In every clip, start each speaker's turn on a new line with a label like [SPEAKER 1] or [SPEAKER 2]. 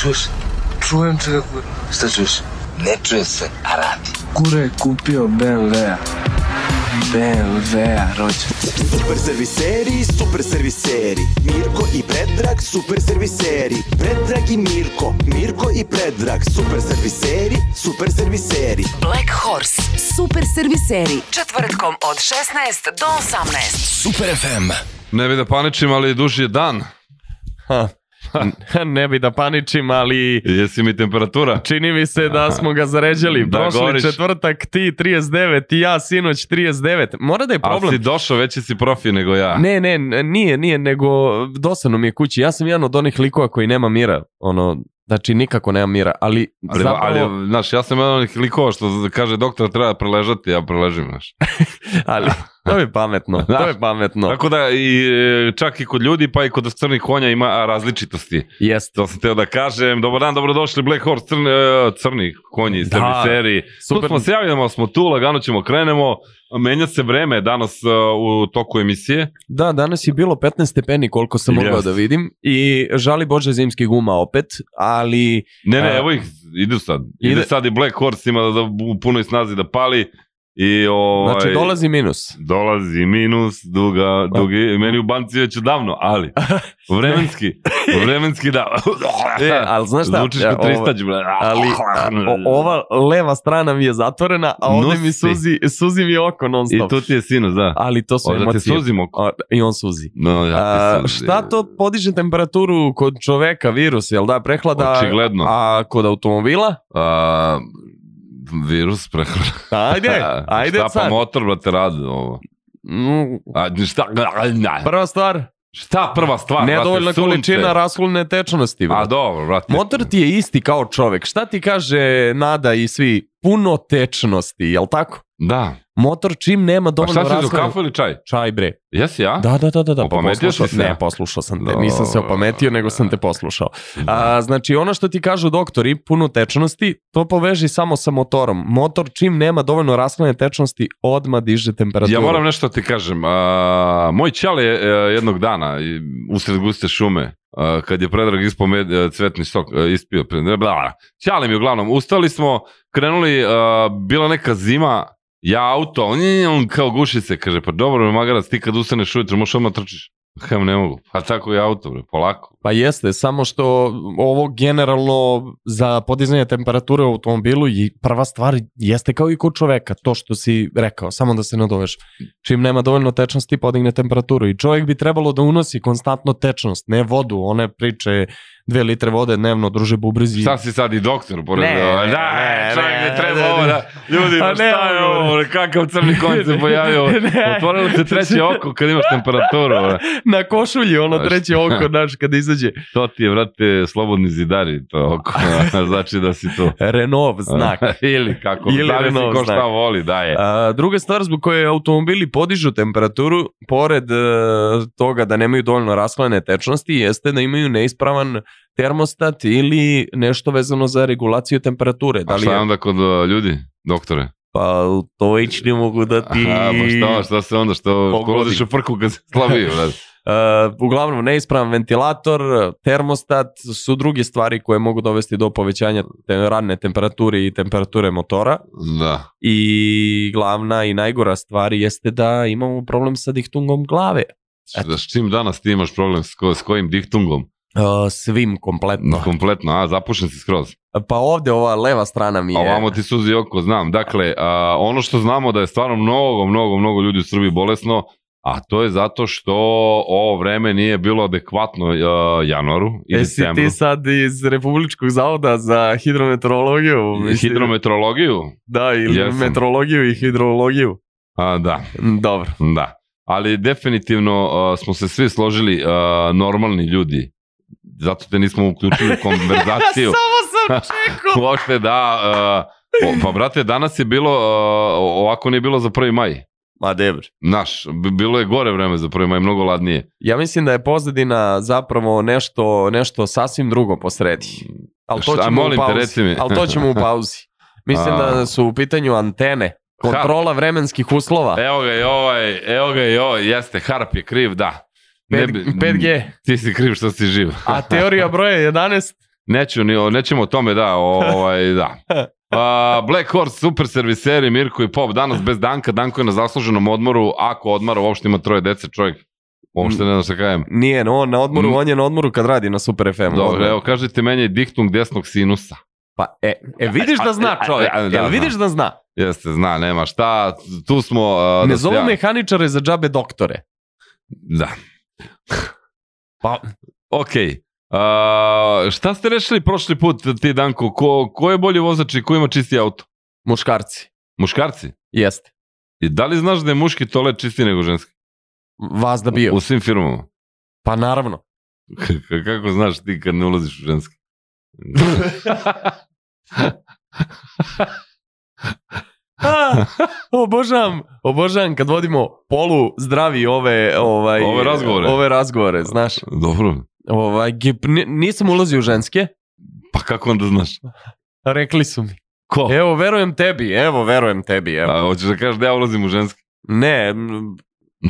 [SPEAKER 1] čuješ?
[SPEAKER 2] Čujem se kako...
[SPEAKER 1] Šta čuješ? Ne čuje se, a radi.
[SPEAKER 2] Kure je kupio BMW-a. BMW-a, rođen.
[SPEAKER 3] Super serviseri, super serviseri Mirko i Predrag, super serviseri Predrag i Mirko, Mirko i Predrag Super serviseri, super serviseri
[SPEAKER 4] Black Horse. Super serviseri. Četvrtkom od 16 do 18.
[SPEAKER 5] Super FM.
[SPEAKER 6] Ne bi da paničim, ali duži je dan.
[SPEAKER 7] Ha. ne bi da paničim, ali
[SPEAKER 6] Jesi mi temperatura?
[SPEAKER 7] čini mi se da smo ga zaređali.
[SPEAKER 6] Da,
[SPEAKER 7] Prošli
[SPEAKER 6] govoriš.
[SPEAKER 7] četvrtak ti 39 i ja sinoć 39. Mora da je
[SPEAKER 6] Ali si
[SPEAKER 7] problem.
[SPEAKER 6] došao, veći si profi nego ja.
[SPEAKER 7] Ne, ne, n- nije, nije, nego dosadno mi je kući. Ja sam jedan od onih likova koji nema mira. Ono, znači nikako nema mira, ali,
[SPEAKER 6] Ali,
[SPEAKER 7] zapravo,
[SPEAKER 6] ali, znaš, ja sam jedan od onih likova što kaže doktor treba preležati, ja preležim, znaš.
[SPEAKER 7] ali to je pametno, to je pametno.
[SPEAKER 6] Tako da, i, e, čak i kod ljudi, pa i kod crnih konja ima različitosti.
[SPEAKER 7] Jeste.
[SPEAKER 6] To sam teo da kažem. Dobar dan, dobrodošli Black Horse, crni, e, crni konji,
[SPEAKER 7] Da,
[SPEAKER 6] serviseri. Tu
[SPEAKER 7] super.
[SPEAKER 6] smo se javljamo, smo tu, lagano ćemo, krenemo. Menja se vreme danas e, u toku emisije.
[SPEAKER 7] Da, danas je bilo 15 stepeni koliko sam mogao
[SPEAKER 6] Jeste.
[SPEAKER 7] da vidim i žali Bože zimskih guma opet, ali
[SPEAKER 6] Ne, ne,
[SPEAKER 7] A-
[SPEAKER 6] evo ih, idu sad. Ide,
[SPEAKER 7] Ide-
[SPEAKER 6] sad i Black Horse ima da, da u punoj snazi da pali. I ovaj,
[SPEAKER 7] znači dolazi minus.
[SPEAKER 6] dolazi minus, duga, dugi, meni u banci već davno, ali vremenski, vremenski da.
[SPEAKER 7] E, ali znaš šta?
[SPEAKER 6] Zvučiš kao
[SPEAKER 7] Ovo-
[SPEAKER 6] tristač, bre.
[SPEAKER 7] Ali a, o- ova leva strana mi je zatvorena, a ovde mi
[SPEAKER 6] Nosi.
[SPEAKER 7] suzi, suzi mi oko non
[SPEAKER 6] I
[SPEAKER 7] stop.
[SPEAKER 6] tu ti je sinus, da.
[SPEAKER 7] Ali to su
[SPEAKER 6] Možda ti
[SPEAKER 7] emocije.
[SPEAKER 6] suzimo.
[SPEAKER 7] A, I on suzi.
[SPEAKER 6] No, ja ti
[SPEAKER 7] A,
[SPEAKER 6] suzi.
[SPEAKER 7] šta to podiže temperaturu kod čoveka, virus, jel da, prehlada,
[SPEAKER 6] Očigledno.
[SPEAKER 7] a kod automobila?
[SPEAKER 6] A, virus prehrana.
[SPEAKER 7] Ajde, ajde
[SPEAKER 6] šta pa
[SPEAKER 7] sad.
[SPEAKER 6] motor, brate, radi ovo.
[SPEAKER 7] Mm,
[SPEAKER 6] A, šta,
[SPEAKER 7] Prva stvar,
[SPEAKER 6] šta prva stvar, Pa, brate,
[SPEAKER 7] nedovoljna
[SPEAKER 6] sunce.
[SPEAKER 7] količina raskolne tečnosti. brate.
[SPEAKER 6] A dobro, brate.
[SPEAKER 7] Motor ti je isti kao čovek. Šta ti kaže Nada i svi? Puno tečnosti, jel tako?
[SPEAKER 6] Da.
[SPEAKER 7] Motor čim nema
[SPEAKER 6] Pa
[SPEAKER 7] dovoljno
[SPEAKER 6] šta ćeš, do
[SPEAKER 7] raskornje-
[SPEAKER 6] kafu ili čaj?
[SPEAKER 7] Čaj bre.
[SPEAKER 6] Jesi ja?
[SPEAKER 7] Da, da, da, da. da. Pa
[SPEAKER 6] Opametio
[SPEAKER 7] poslušao-
[SPEAKER 6] si se?
[SPEAKER 7] Ne, poslušao sam te.
[SPEAKER 6] Dobro.
[SPEAKER 7] Nisam se opametio, nego sam te poslušao. A, znači, ono što ti kažu doktori, puno tečnosti, to poveži samo sa motorom. Motor čim nema dovoljno rasklane tečnosti, odma diže temperaturu.
[SPEAKER 6] Ja moram nešto da ti kažem. A, moj ćale je e, jednog dana i usred guste šume a, kad je Predrag ispao med, e, cvetni sok, e, ispio, pre- ne, bla, ćale mi uglavnom, ustali smo, krenuli, a, bila neka zima, ja auto, on, on kao guši se, kaže, pa dobro, me magarac, ti kad ustaneš ujutro, možeš odmah trčiš. Kajem, ne mogu. Pa tako je auto, bre, polako.
[SPEAKER 7] Pa jeste, samo što ovo generalno za podizanje temperature u automobilu i prva stvar jeste kao i kod čoveka, to što si rekao, samo da se nadoveš. Čim nema dovoljno tečnosti podigne temperaturu i čovjek bi trebalo da unosi konstantno tečnost, ne vodu, one priče dve litre vode dnevno, druže bubrezi.
[SPEAKER 6] Šta si sad i doktor, pored
[SPEAKER 7] Ne,
[SPEAKER 6] da,
[SPEAKER 7] ne,
[SPEAKER 6] da,
[SPEAKER 7] ne,
[SPEAKER 6] čovjek ne,
[SPEAKER 7] ne,
[SPEAKER 6] treba
[SPEAKER 7] ne,
[SPEAKER 6] ovo
[SPEAKER 7] ne.
[SPEAKER 6] da, ljudi,
[SPEAKER 7] A
[SPEAKER 6] pa
[SPEAKER 7] ne,
[SPEAKER 6] šta je
[SPEAKER 7] odgovor.
[SPEAKER 6] ovo, bre, kakav crni konj se pojavio,
[SPEAKER 7] Ne.
[SPEAKER 6] otvorilo se treće oko kad imaš temperaturu, ono. bre.
[SPEAKER 7] Na košulji, ono treće oko, naš, kad izađe.
[SPEAKER 6] To ti je, vrate, slobodni zidari, to oko, znači da si tu.
[SPEAKER 7] Renov znak.
[SPEAKER 6] Ili kako,
[SPEAKER 7] Ili
[SPEAKER 6] da li si
[SPEAKER 7] Renault
[SPEAKER 6] ko šta
[SPEAKER 7] znak.
[SPEAKER 6] voli, da je.
[SPEAKER 7] E, A, druga stvar zbog koje automobili podižu temperaturu, pored e, toga da nemaju dovoljno rasklane tečnosti, jeste da imaju neispravan termostat ili nešto vezano za regulaciju temperature. Da
[SPEAKER 6] A
[SPEAKER 7] li
[SPEAKER 6] šta je
[SPEAKER 7] je,
[SPEAKER 6] onda kod uh, ljudi, doktore?
[SPEAKER 7] pa to već ne mogu da ti...
[SPEAKER 6] Aha, pa šta, šta se onda, što, što
[SPEAKER 7] Pogodi.
[SPEAKER 6] ulaziš u prku kad se slabiju, brate?
[SPEAKER 7] E, uglavnom, neispravan ventilator, termostat su druge stvari koje mogu dovesti do povećanja te, radne temperature i temperature motora.
[SPEAKER 6] Da.
[SPEAKER 7] I glavna i najgora stvar jeste da imamo problem sa dihtungom glave.
[SPEAKER 6] Da, s čim danas ti imaš problem, s, ko, s kojim diktungom?
[SPEAKER 7] Uh, svim kompletno.
[SPEAKER 6] Kompletno, a, zapušen si skroz.
[SPEAKER 7] Pa ovde ova leva strana mi
[SPEAKER 6] A
[SPEAKER 7] je.
[SPEAKER 6] ovamo ti suzi oko, znam. Dakle, a, ono što znamo da je stvarno mnogo, mnogo, mnogo ljudi u Srbiji bolesno, a to je zato što ovo vreme nije bilo adekvatno a, januaru i
[SPEAKER 7] Jesi
[SPEAKER 6] decembru.
[SPEAKER 7] E, ti sad iz Republičkog zavoda za hidrometeorologiju? mislim?
[SPEAKER 6] Hidrometeorologiju?
[SPEAKER 7] Da, ili
[SPEAKER 6] Jesam.
[SPEAKER 7] meteorologiju i hidrologiju.
[SPEAKER 6] A, da,
[SPEAKER 7] Mm, Dobro.
[SPEAKER 6] da. Ali definitivno a, smo se svi složili a, normalni ljudi. Zato te nismo uključili u konverzaciju.
[SPEAKER 7] Samo sam čekao.
[SPEAKER 6] Uopšte da... a, o, pa brate, danas je bilo, a, ovako nije bilo za 1. maj.
[SPEAKER 7] Ma debr.
[SPEAKER 6] Naš, b- bilo je gore vreme za 1. maj, mnogo ladnije.
[SPEAKER 7] Ja mislim da je pozadina zapravo nešto, nešto sasvim drugo posredi. Ali to
[SPEAKER 6] Šta,
[SPEAKER 7] ćemo
[SPEAKER 6] molim
[SPEAKER 7] u
[SPEAKER 6] te,
[SPEAKER 7] pauzi.
[SPEAKER 6] reci mi.
[SPEAKER 7] Ali to ćemo u pauzi. Mislim
[SPEAKER 6] A.
[SPEAKER 7] da su u pitanju antene. Kontrola vremenskih uslova.
[SPEAKER 6] Evo ga i ovaj, evo ga i ovaj, jeste, Harp je kriv, da. Ne
[SPEAKER 7] Pet-
[SPEAKER 6] bi-
[SPEAKER 7] 5G.
[SPEAKER 6] Ti si kriv što si živ.
[SPEAKER 7] A teorija broja 11.
[SPEAKER 6] Neću, ni, o- nećemo o tome, da, o- ovaj, da. A, Black Horse, super serviseri, Mirko i Pop, danas bez Danka, Danko je na zasluženom odmoru, ako odmara, uopšte ima troje dece, čovjek, uopšte ne znam šta kajem.
[SPEAKER 7] Nije, no, on na odmoru,
[SPEAKER 6] Mm.
[SPEAKER 7] on je na odmoru kad radi na Super FM.
[SPEAKER 6] Dobro, evo, kažete meni je diktung desnog sinusa.
[SPEAKER 7] Pa, e, e, vidiš da zna čovjek,
[SPEAKER 6] A, a, a, da,
[SPEAKER 7] jel vidiš da zna?
[SPEAKER 6] Jeste, zna, nema šta, tu smo... a,
[SPEAKER 7] Ne
[SPEAKER 6] Pa, da se
[SPEAKER 7] zovu
[SPEAKER 6] ja-
[SPEAKER 7] mehaničare za džabe doktore.
[SPEAKER 6] Da.
[SPEAKER 7] Pa-
[SPEAKER 6] ok. A, šta ste rešili prošli put, ti Danko? Ko, ko je bolji vozač i ko ima čisti auto?
[SPEAKER 7] Muškarci.
[SPEAKER 6] Muškarci?
[SPEAKER 7] Jeste.
[SPEAKER 6] I da li znaš da je muški toalet čistiji nego ženski?
[SPEAKER 7] Vas da bio.
[SPEAKER 6] U svim firmama.
[SPEAKER 7] Pa naravno.
[SPEAKER 6] K- Kako znaš ti kad ne ulaziš u ženski?
[SPEAKER 7] A, obožavam, obožavam kad vodimo polu zdravi ove, ovaj,
[SPEAKER 6] Ove razgovore.
[SPEAKER 7] Ove razgovore, znaš.
[SPEAKER 6] Dobro.
[SPEAKER 7] Ovaj, gip- ni- nisam ulazio u ženske.
[SPEAKER 6] Pa kako onda znaš?
[SPEAKER 7] Rekli su mi.
[SPEAKER 6] Ko?
[SPEAKER 7] Evo, verujem tebi, evo, verujem tebi, evo.
[SPEAKER 6] A, hoćeš da kažeš da ja ulazim u ženski?
[SPEAKER 7] Ne, m,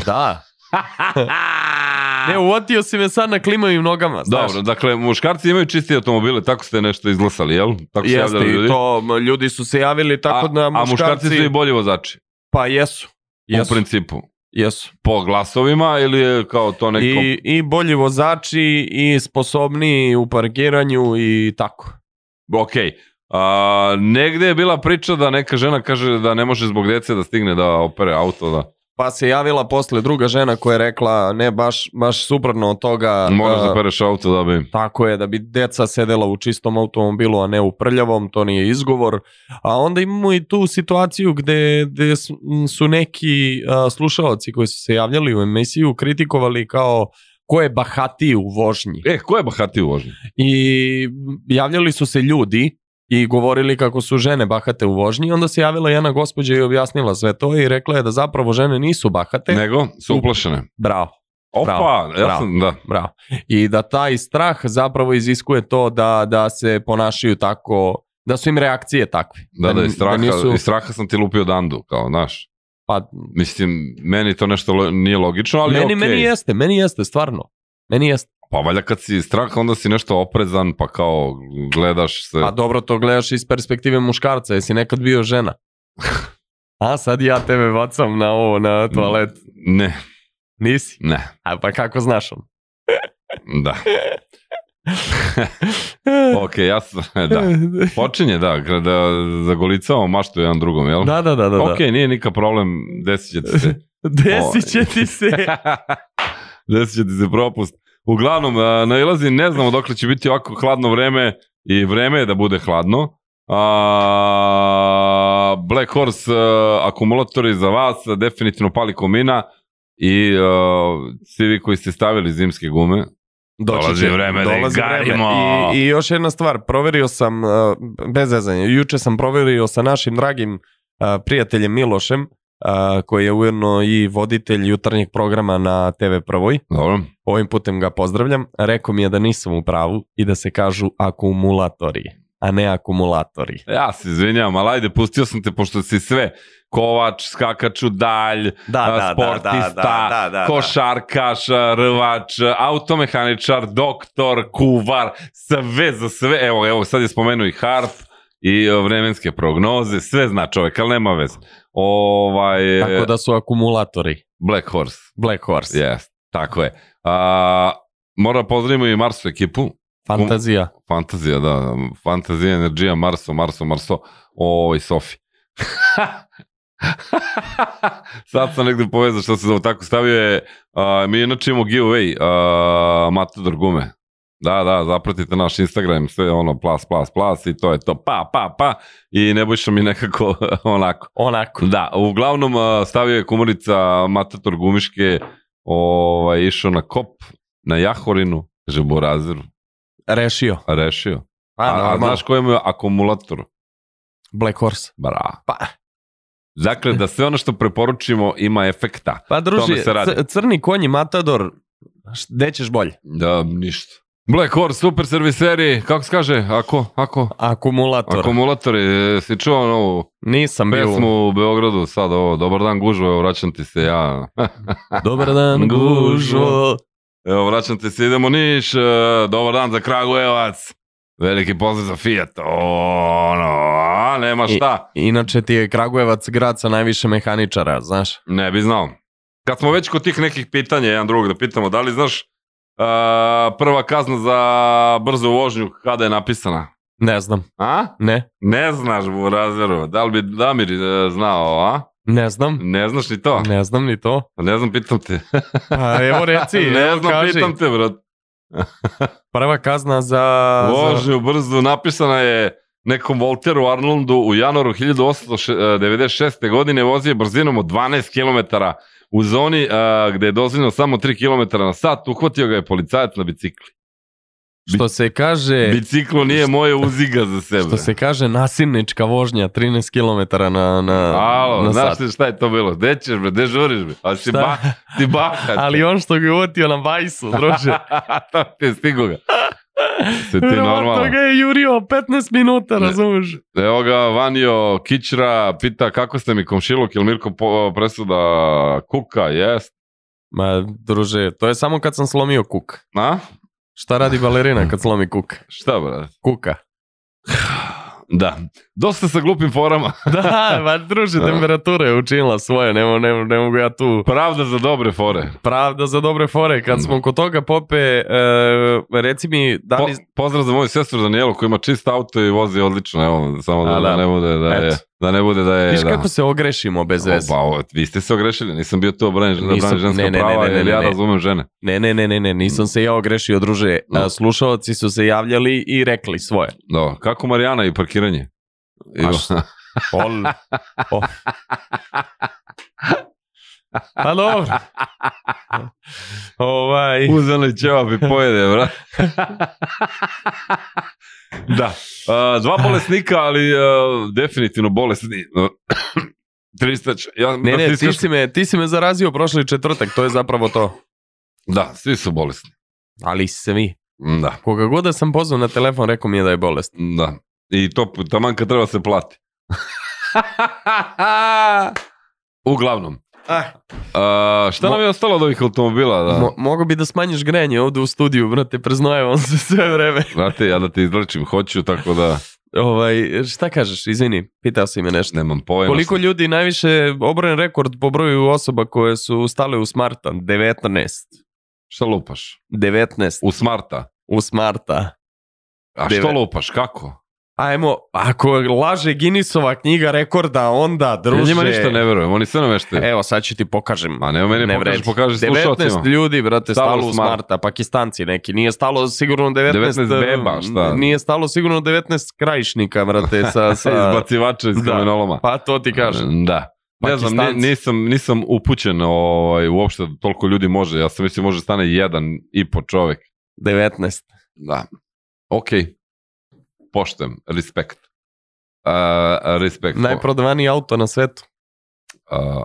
[SPEAKER 7] da. ne, uvatio si me sad na klimavim nogama, znaš.
[SPEAKER 6] Dobro, dakle, muškarci imaju čistije automobile, tako ste nešto izglasali, jel? Tako se
[SPEAKER 7] Jeste,
[SPEAKER 6] javljali
[SPEAKER 7] i
[SPEAKER 6] ljudi.
[SPEAKER 7] to m, ljudi su se javili tako
[SPEAKER 6] a,
[SPEAKER 7] da
[SPEAKER 6] a muškarci su i bolji vozači,
[SPEAKER 7] pa jesu.
[SPEAKER 6] u
[SPEAKER 7] Jesu,
[SPEAKER 6] principu.
[SPEAKER 7] jesu.
[SPEAKER 6] Po glasovima ili je kao to neko...
[SPEAKER 7] I, I bolji vozači i sposobniji u parkiranju i tako.
[SPEAKER 6] Ok. A, negde je bila priča da neka žena kaže da ne može zbog dece da stigne da opere auto, da
[SPEAKER 7] Pa se javila posle druga žena koja je rekla ne baš, baš suprotno od toga.
[SPEAKER 6] moraš
[SPEAKER 7] a,
[SPEAKER 6] da pereš auto da bi...
[SPEAKER 7] Tako je, da bi deca sedela u čistom automobilu, a ne u prljavom, to nije izgovor. A onda imamo i tu situaciju gde, gde su- m, su neki a, slušaoci koji su se javljali u emisiju kritikovali kao ko je bahati u vožnji.
[SPEAKER 6] E, ko je bahati u vožnji?
[SPEAKER 7] I javljali su se ljudi i govorili kako su žene bahate u vožnji. Onda se javila jedna gospođa i objasnila sve to i rekla je da zapravo žene nisu bahate.
[SPEAKER 6] Nego, su
[SPEAKER 7] u-
[SPEAKER 6] uplašene.
[SPEAKER 7] Bravo.
[SPEAKER 6] Opa,
[SPEAKER 7] Bravo,
[SPEAKER 6] ja sam, da.
[SPEAKER 7] Bravo. I da taj strah zapravo iziskuje to da, da se ponašaju tako, da su im reakcije takve.
[SPEAKER 6] Da, da, iz straha,
[SPEAKER 7] da nisu,
[SPEAKER 6] iz straha sam ti lupio dandu, kao, znaš.
[SPEAKER 7] pa,
[SPEAKER 6] Mislim, meni to nešto lo, nije logično, ali
[SPEAKER 7] meni,
[SPEAKER 6] okej.
[SPEAKER 7] meni jeste, meni jeste, stvarno. Meni jeste.
[SPEAKER 6] Pa valjda kad si iz straha, onda si nešto oprezan, pa kao gledaš se.
[SPEAKER 7] Pa dobro, to gledaš iz perspektive muškarca, jesi nekad bio žena. A sad ja tebe bacam na ovo, na toalet.
[SPEAKER 6] Ne,
[SPEAKER 7] Nisi?
[SPEAKER 6] ne,
[SPEAKER 7] A pa kako znaš on?
[SPEAKER 6] da. ok, ja sam, da. Počinje, da, da zagolicamo maštu jedan drugom, jel?
[SPEAKER 7] da, da, da, da.
[SPEAKER 6] ok, nije nikakav problem, desit će ti se.
[SPEAKER 7] Desit će ti se.
[SPEAKER 6] desit će ti se propust. Uglavnom, a, nailazi, ne znamo dokle će biti ovako hladno vreme i vreme je da bude hladno. A, Black Horse a, akumulatori za vas, a, definitivno pali komina i a, svi vi koji ste stavili zimske gume,
[SPEAKER 7] Doći
[SPEAKER 6] Dolazi
[SPEAKER 7] će,
[SPEAKER 6] vreme da ih
[SPEAKER 7] dolazi vreme.
[SPEAKER 6] garimo.
[SPEAKER 7] I, I još jedna stvar, proverio sam, uh, bez zezanja, juče sam proverio sa našim dragim uh, prijateljem Milošem, uh, koji je ujedno i voditelj jutarnjeg programa na TV Prvoj.
[SPEAKER 6] dobro,
[SPEAKER 7] Ovim putem ga pozdravljam. Rekao mi je da nisam u pravu i da se kažu akumulatori, a ne akumulatori.
[SPEAKER 6] ja se izvinjam, ali ajde, pustio sam te pošto si sve, kovač, skakaču dalj,
[SPEAKER 7] Da,
[SPEAKER 6] A, sportista, košarkaš, rvač, automehaničar, doktor, kuvar, sve za sve. Evo, evo, sad je spomenuo i harp i e, vremenske prognoze, sve zna čovjek, ali nema veze. Ovaj,
[SPEAKER 7] Tako da su akumulatori.
[SPEAKER 6] Black Horse,
[SPEAKER 7] Black Horse.
[SPEAKER 6] yes, tako je. A, mora pozdravimo i Marsu ekipu,
[SPEAKER 7] Fantazija.
[SPEAKER 6] Fantazija, da, Fantazija, Energija, Marso, Marso, Marso, o, i Sofi. Sad sam negde povezao što se zove, tako stavio je, a, mi inače imamo giveaway, a, Matador gume. Da, da, zapratite naš Instagram, sve ono, plas, plas, plas i to je to, pa, pa, pa, i Nebojša mi nekako onako.
[SPEAKER 7] Onako.
[SPEAKER 6] Da, uglavnom a, stavio je kumarica Matator gumiške, ovaj, išao na kop, na Jahorinu, kaže Borazeru,
[SPEAKER 7] Rešio.
[SPEAKER 6] rešio.
[SPEAKER 7] A,
[SPEAKER 6] A, a
[SPEAKER 7] normalno.
[SPEAKER 6] znaš ko ima akumulator?
[SPEAKER 7] Black Horse.
[SPEAKER 6] Bra.
[SPEAKER 7] Pa.
[SPEAKER 6] Dakle, da sve ono što preporučimo ima efekta.
[SPEAKER 7] Pa druži,
[SPEAKER 6] se radi.
[SPEAKER 7] cr- crni konj i matador, š- gde ćeš bolje?
[SPEAKER 6] Da, ništa. Black Horse, super serviseri, kako se kaže, ako, ako,
[SPEAKER 7] Akumulator.
[SPEAKER 6] akumulatori, e, si čuo novu
[SPEAKER 7] Nisam bio.
[SPEAKER 6] pesmu u Beogradu sad, ovo, dobar dan gužvo, evo vraćam ti se ja,
[SPEAKER 7] Dobar dan, gužo.
[SPEAKER 6] evo vraćam ti se, idemo Niš, e, dobar dan za Kragujevac, Veliki pozdrav za Fiat. O, ono, a, nema šta.
[SPEAKER 7] Inače ti je Kragujevac grad sa najviše mehaničara, znaš.
[SPEAKER 6] Ne bi znao. Kad smo već kod tih nekih pitanja, jedan drugog da pitamo, da li znaš a, prva kazna za brzu vožnju kada je napisana?
[SPEAKER 7] Ne znam.
[SPEAKER 6] A?
[SPEAKER 7] Ne?
[SPEAKER 6] Ne znaš, Burazeru. Da li bi Damir e, znao, a?
[SPEAKER 7] Ne znam.
[SPEAKER 6] Ne znaš ni to?
[SPEAKER 7] Ne znam ni to.
[SPEAKER 6] Ne znam, pitam te.
[SPEAKER 7] Pa evo reci,
[SPEAKER 6] ne
[SPEAKER 7] evo
[SPEAKER 6] znam,
[SPEAKER 7] kaži.
[SPEAKER 6] pitam te, brat.
[SPEAKER 7] Prva kazna za... za...
[SPEAKER 6] Vožnju brzu napisana je nekom Volteru Arnoldu u januaru 1896. godine vozio je brzinom od 12 km u zoni a, gde je dozvoljeno samo 3 km na sat, uhvatio ga je policajac na bicikli.
[SPEAKER 7] Što se kaže...
[SPEAKER 6] Biciklo nije moje uziga za sebe.
[SPEAKER 7] E, Što se kaže nasilnička vožnja 13 km na, na,
[SPEAKER 6] Alo,
[SPEAKER 7] na
[SPEAKER 6] znaš
[SPEAKER 7] sat.
[SPEAKER 6] ti šta je to bilo? Gde ćeš bre, gde žuriš bre? A si,
[SPEAKER 7] Šta?
[SPEAKER 6] ba, ti bahat.
[SPEAKER 7] Ali on što ga je uvatio na bajsu, druže.
[SPEAKER 6] ti stigo ga. Se ti
[SPEAKER 7] Verovatno
[SPEAKER 6] normalno.
[SPEAKER 7] ga je jurio 15 minuta,
[SPEAKER 6] Ne.
[SPEAKER 7] razumiješ?
[SPEAKER 6] Evo ga, Vanjo Kičra pita kako ste mi komšiluk, jel Mirko po, presuda kuka, jest?
[SPEAKER 7] Ma, druže, to je samo kad sam slomio kuk.
[SPEAKER 6] Na?
[SPEAKER 7] Šta radi balerina kad slomi kuk?
[SPEAKER 6] Šta, brate?
[SPEAKER 7] Kuka.
[SPEAKER 6] Da. Dosta sa glupim forama.
[SPEAKER 7] Da, ma druže, temperatura je učinila svoje, ne, mo- ne, mo- ne mogu ja tu...
[SPEAKER 6] Pravda za dobre fore.
[SPEAKER 7] Pravda za dobre fore, kad smo kod toga, Pope, e, reci mi, da
[SPEAKER 6] Po,
[SPEAKER 7] li...
[SPEAKER 6] pozdrav za moju sestru Danijelu koja ima čist auto i vozi odlično, evo, samo da,
[SPEAKER 7] A,
[SPEAKER 6] da
[SPEAKER 7] da.
[SPEAKER 6] ne bude da je,
[SPEAKER 7] Eto.
[SPEAKER 6] da ne bude da je...
[SPEAKER 7] Viš
[SPEAKER 6] da.
[SPEAKER 7] kako se ogrešimo bez veze?
[SPEAKER 6] Opa, ovo, vi ste se ogrešili, nisam bio to branjen, da
[SPEAKER 7] Nisam,
[SPEAKER 6] branim ženska
[SPEAKER 7] ne, ne, ne,
[SPEAKER 6] prava,
[SPEAKER 7] ne, ne,
[SPEAKER 6] jer ja
[SPEAKER 7] ne.
[SPEAKER 6] razumem žene.
[SPEAKER 7] Ne, ne, ne, ne, ne, nisam se ja ogrešio, druže. A, slušalci su se javljali i rekli svoje.
[SPEAKER 6] Da, kako Marijana i parkiranje?
[SPEAKER 7] A šta? Ol. O. Pa dobro. Ovaj,
[SPEAKER 6] Uzeli ćevap i pojede, bra. da. A, dva bolesnika, ali a, definitivno bolesni. 300 ja,
[SPEAKER 7] ne, ne, ti
[SPEAKER 6] stiskaš-
[SPEAKER 7] si, me, ti si me zarazio prošli četvrtak, to je zapravo to.
[SPEAKER 6] Da, svi su bolesni. Mm,
[SPEAKER 7] Ali svi.
[SPEAKER 6] Da, mm,
[SPEAKER 7] Koga god da sam pozvao na telefon, rekao mi je da je bolest.
[SPEAKER 6] da. I to taman kad treba se plati. Uglavnom.
[SPEAKER 7] Ah.
[SPEAKER 6] A, šta nam je ostalo od ovih automobila? Da?
[SPEAKER 7] Mo, mogu bi da smanjiš grejanje ovde u studiju, brate, preznojevam se sve vreme.
[SPEAKER 6] Znate, ja da te izvrčim hoću, tako da
[SPEAKER 7] Ovaj, šta kažeš, izvini, pitao si me nešto.
[SPEAKER 6] nemam pojma.
[SPEAKER 7] Koliko ljudi najviše obrojen rekord po broju osoba koje su stale u smarta? 19.
[SPEAKER 6] Šta lupaš?
[SPEAKER 7] 19
[SPEAKER 6] U smarta.
[SPEAKER 7] u smarta.
[SPEAKER 6] A što
[SPEAKER 7] Devet.
[SPEAKER 6] lupaš? Kako?
[SPEAKER 7] Ajmo, ako laže Guinnessova knjiga rekorda, onda, druže...
[SPEAKER 6] Ja njima ništa ne verujem, oni sve nameštaju.
[SPEAKER 7] Evo, sad ću ti pokažem.
[SPEAKER 6] Ma nema meni
[SPEAKER 7] Ne
[SPEAKER 6] pokaži,
[SPEAKER 7] vredi.
[SPEAKER 6] pokaži
[SPEAKER 7] 19
[SPEAKER 6] slušalcima.
[SPEAKER 7] ljudi, brate,
[SPEAKER 6] ono. Stalo
[SPEAKER 7] stalo,
[SPEAKER 6] u
[SPEAKER 7] u
[SPEAKER 6] smart.
[SPEAKER 7] smarta, pakistanci neki. Nije stalo sigurno 19...
[SPEAKER 6] 19 beba, šta?
[SPEAKER 7] Nije stalo sigurno 19 krajišnika, brate, sa...
[SPEAKER 6] Sa
[SPEAKER 7] sa
[SPEAKER 6] izbacivača iz
[SPEAKER 7] Da.
[SPEAKER 6] kamenoloma.
[SPEAKER 7] pa to ti kažem.
[SPEAKER 6] Da. Ne znam, ni-
[SPEAKER 7] Pakistanci.
[SPEAKER 6] nisam, nisam upućen ovaj, uopšte da toliko ljudi može. Ja sam mislio može stane jedan i po čovek.
[SPEAKER 7] 19.
[SPEAKER 6] Da. Ok. Poštem. Respekt. Uh, respekt.
[SPEAKER 7] Najprodavaniji auto na svetu.
[SPEAKER 6] Uh,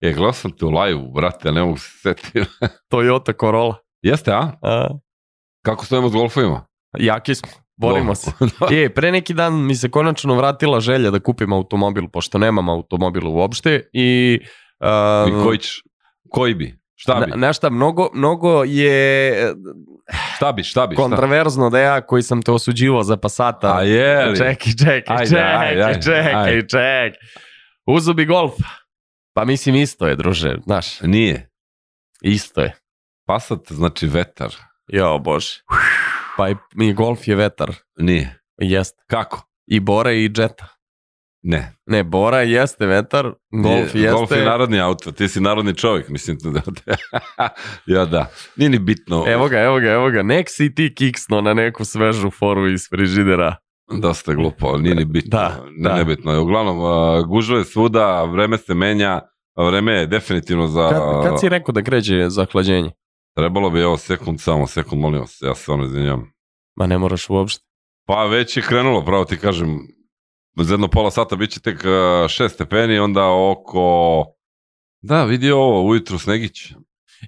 [SPEAKER 6] je, gledao sam te u live, brate, ja ne mogu se setiti.
[SPEAKER 7] Toyota Corolla.
[SPEAKER 6] Jeste, a?
[SPEAKER 7] A,
[SPEAKER 6] Kako stojimo s golfovima?
[SPEAKER 7] jaki smo. Borimo
[SPEAKER 6] Dobro.
[SPEAKER 7] se. Je, pre neki dan mi se konačno vratila želja da kupim automobil, pošto nemam automobil uopšte i... a,
[SPEAKER 6] I koji ćeš? Koji bi? Šta bi?
[SPEAKER 7] Ehm, Na, na šta, mnogo, mnogo je eh,
[SPEAKER 6] Šta bi? Šta bi? Šta?
[SPEAKER 7] kontraverzno da ja koji sam te osuđivao za Passata.
[SPEAKER 6] A je li?
[SPEAKER 7] Čekaj, čekaj,
[SPEAKER 6] Ajde,
[SPEAKER 7] čekaj,
[SPEAKER 6] ajde, ajde,
[SPEAKER 7] čekaj, čekaj,
[SPEAKER 6] ajde.
[SPEAKER 7] čekaj. Uzo bi golf. Pa mislim isto je, druže, znaš,
[SPEAKER 6] Nije.
[SPEAKER 7] isto je.
[SPEAKER 6] Pasat znači vetar.
[SPEAKER 7] Jo, bože. Pa i, i golf je vetar.
[SPEAKER 6] Nije.
[SPEAKER 7] Jeste.
[SPEAKER 6] Kako?
[SPEAKER 7] I Bora i Jetta.
[SPEAKER 6] Ne.
[SPEAKER 7] Ne, Bora jeste vetar, golf
[SPEAKER 6] Nije.
[SPEAKER 7] jeste...
[SPEAKER 6] Golf je narodni auto. Ti si narodni čovjek, mislim. Da, da. ja da. Nije ni bitno.
[SPEAKER 7] Evo ga, evo ga, evo ga. Nek si ti kiksno na neku svežu foru iz frižidera.
[SPEAKER 6] Dosta je glupo, ali nije ni bitno.
[SPEAKER 7] Da,
[SPEAKER 6] Ne-
[SPEAKER 7] da.
[SPEAKER 6] Nebitno je. Uglavnom, uh, gužva je svuda, vreme se menja, vreme je definitivno za...
[SPEAKER 7] Kad, kad si rekao da kreće zahlađenje?
[SPEAKER 6] Trebalo bi, evo, sekund, samo sekund, molim vas, ja se stvarno izvinjam.
[SPEAKER 7] Ma ne moraš uopšte.
[SPEAKER 6] Pa već je krenulo, pravo ti kažem, za jedno pola sata bit će tek 6 stepeni, onda oko... Da, vidi ovo, ujutru Snegić.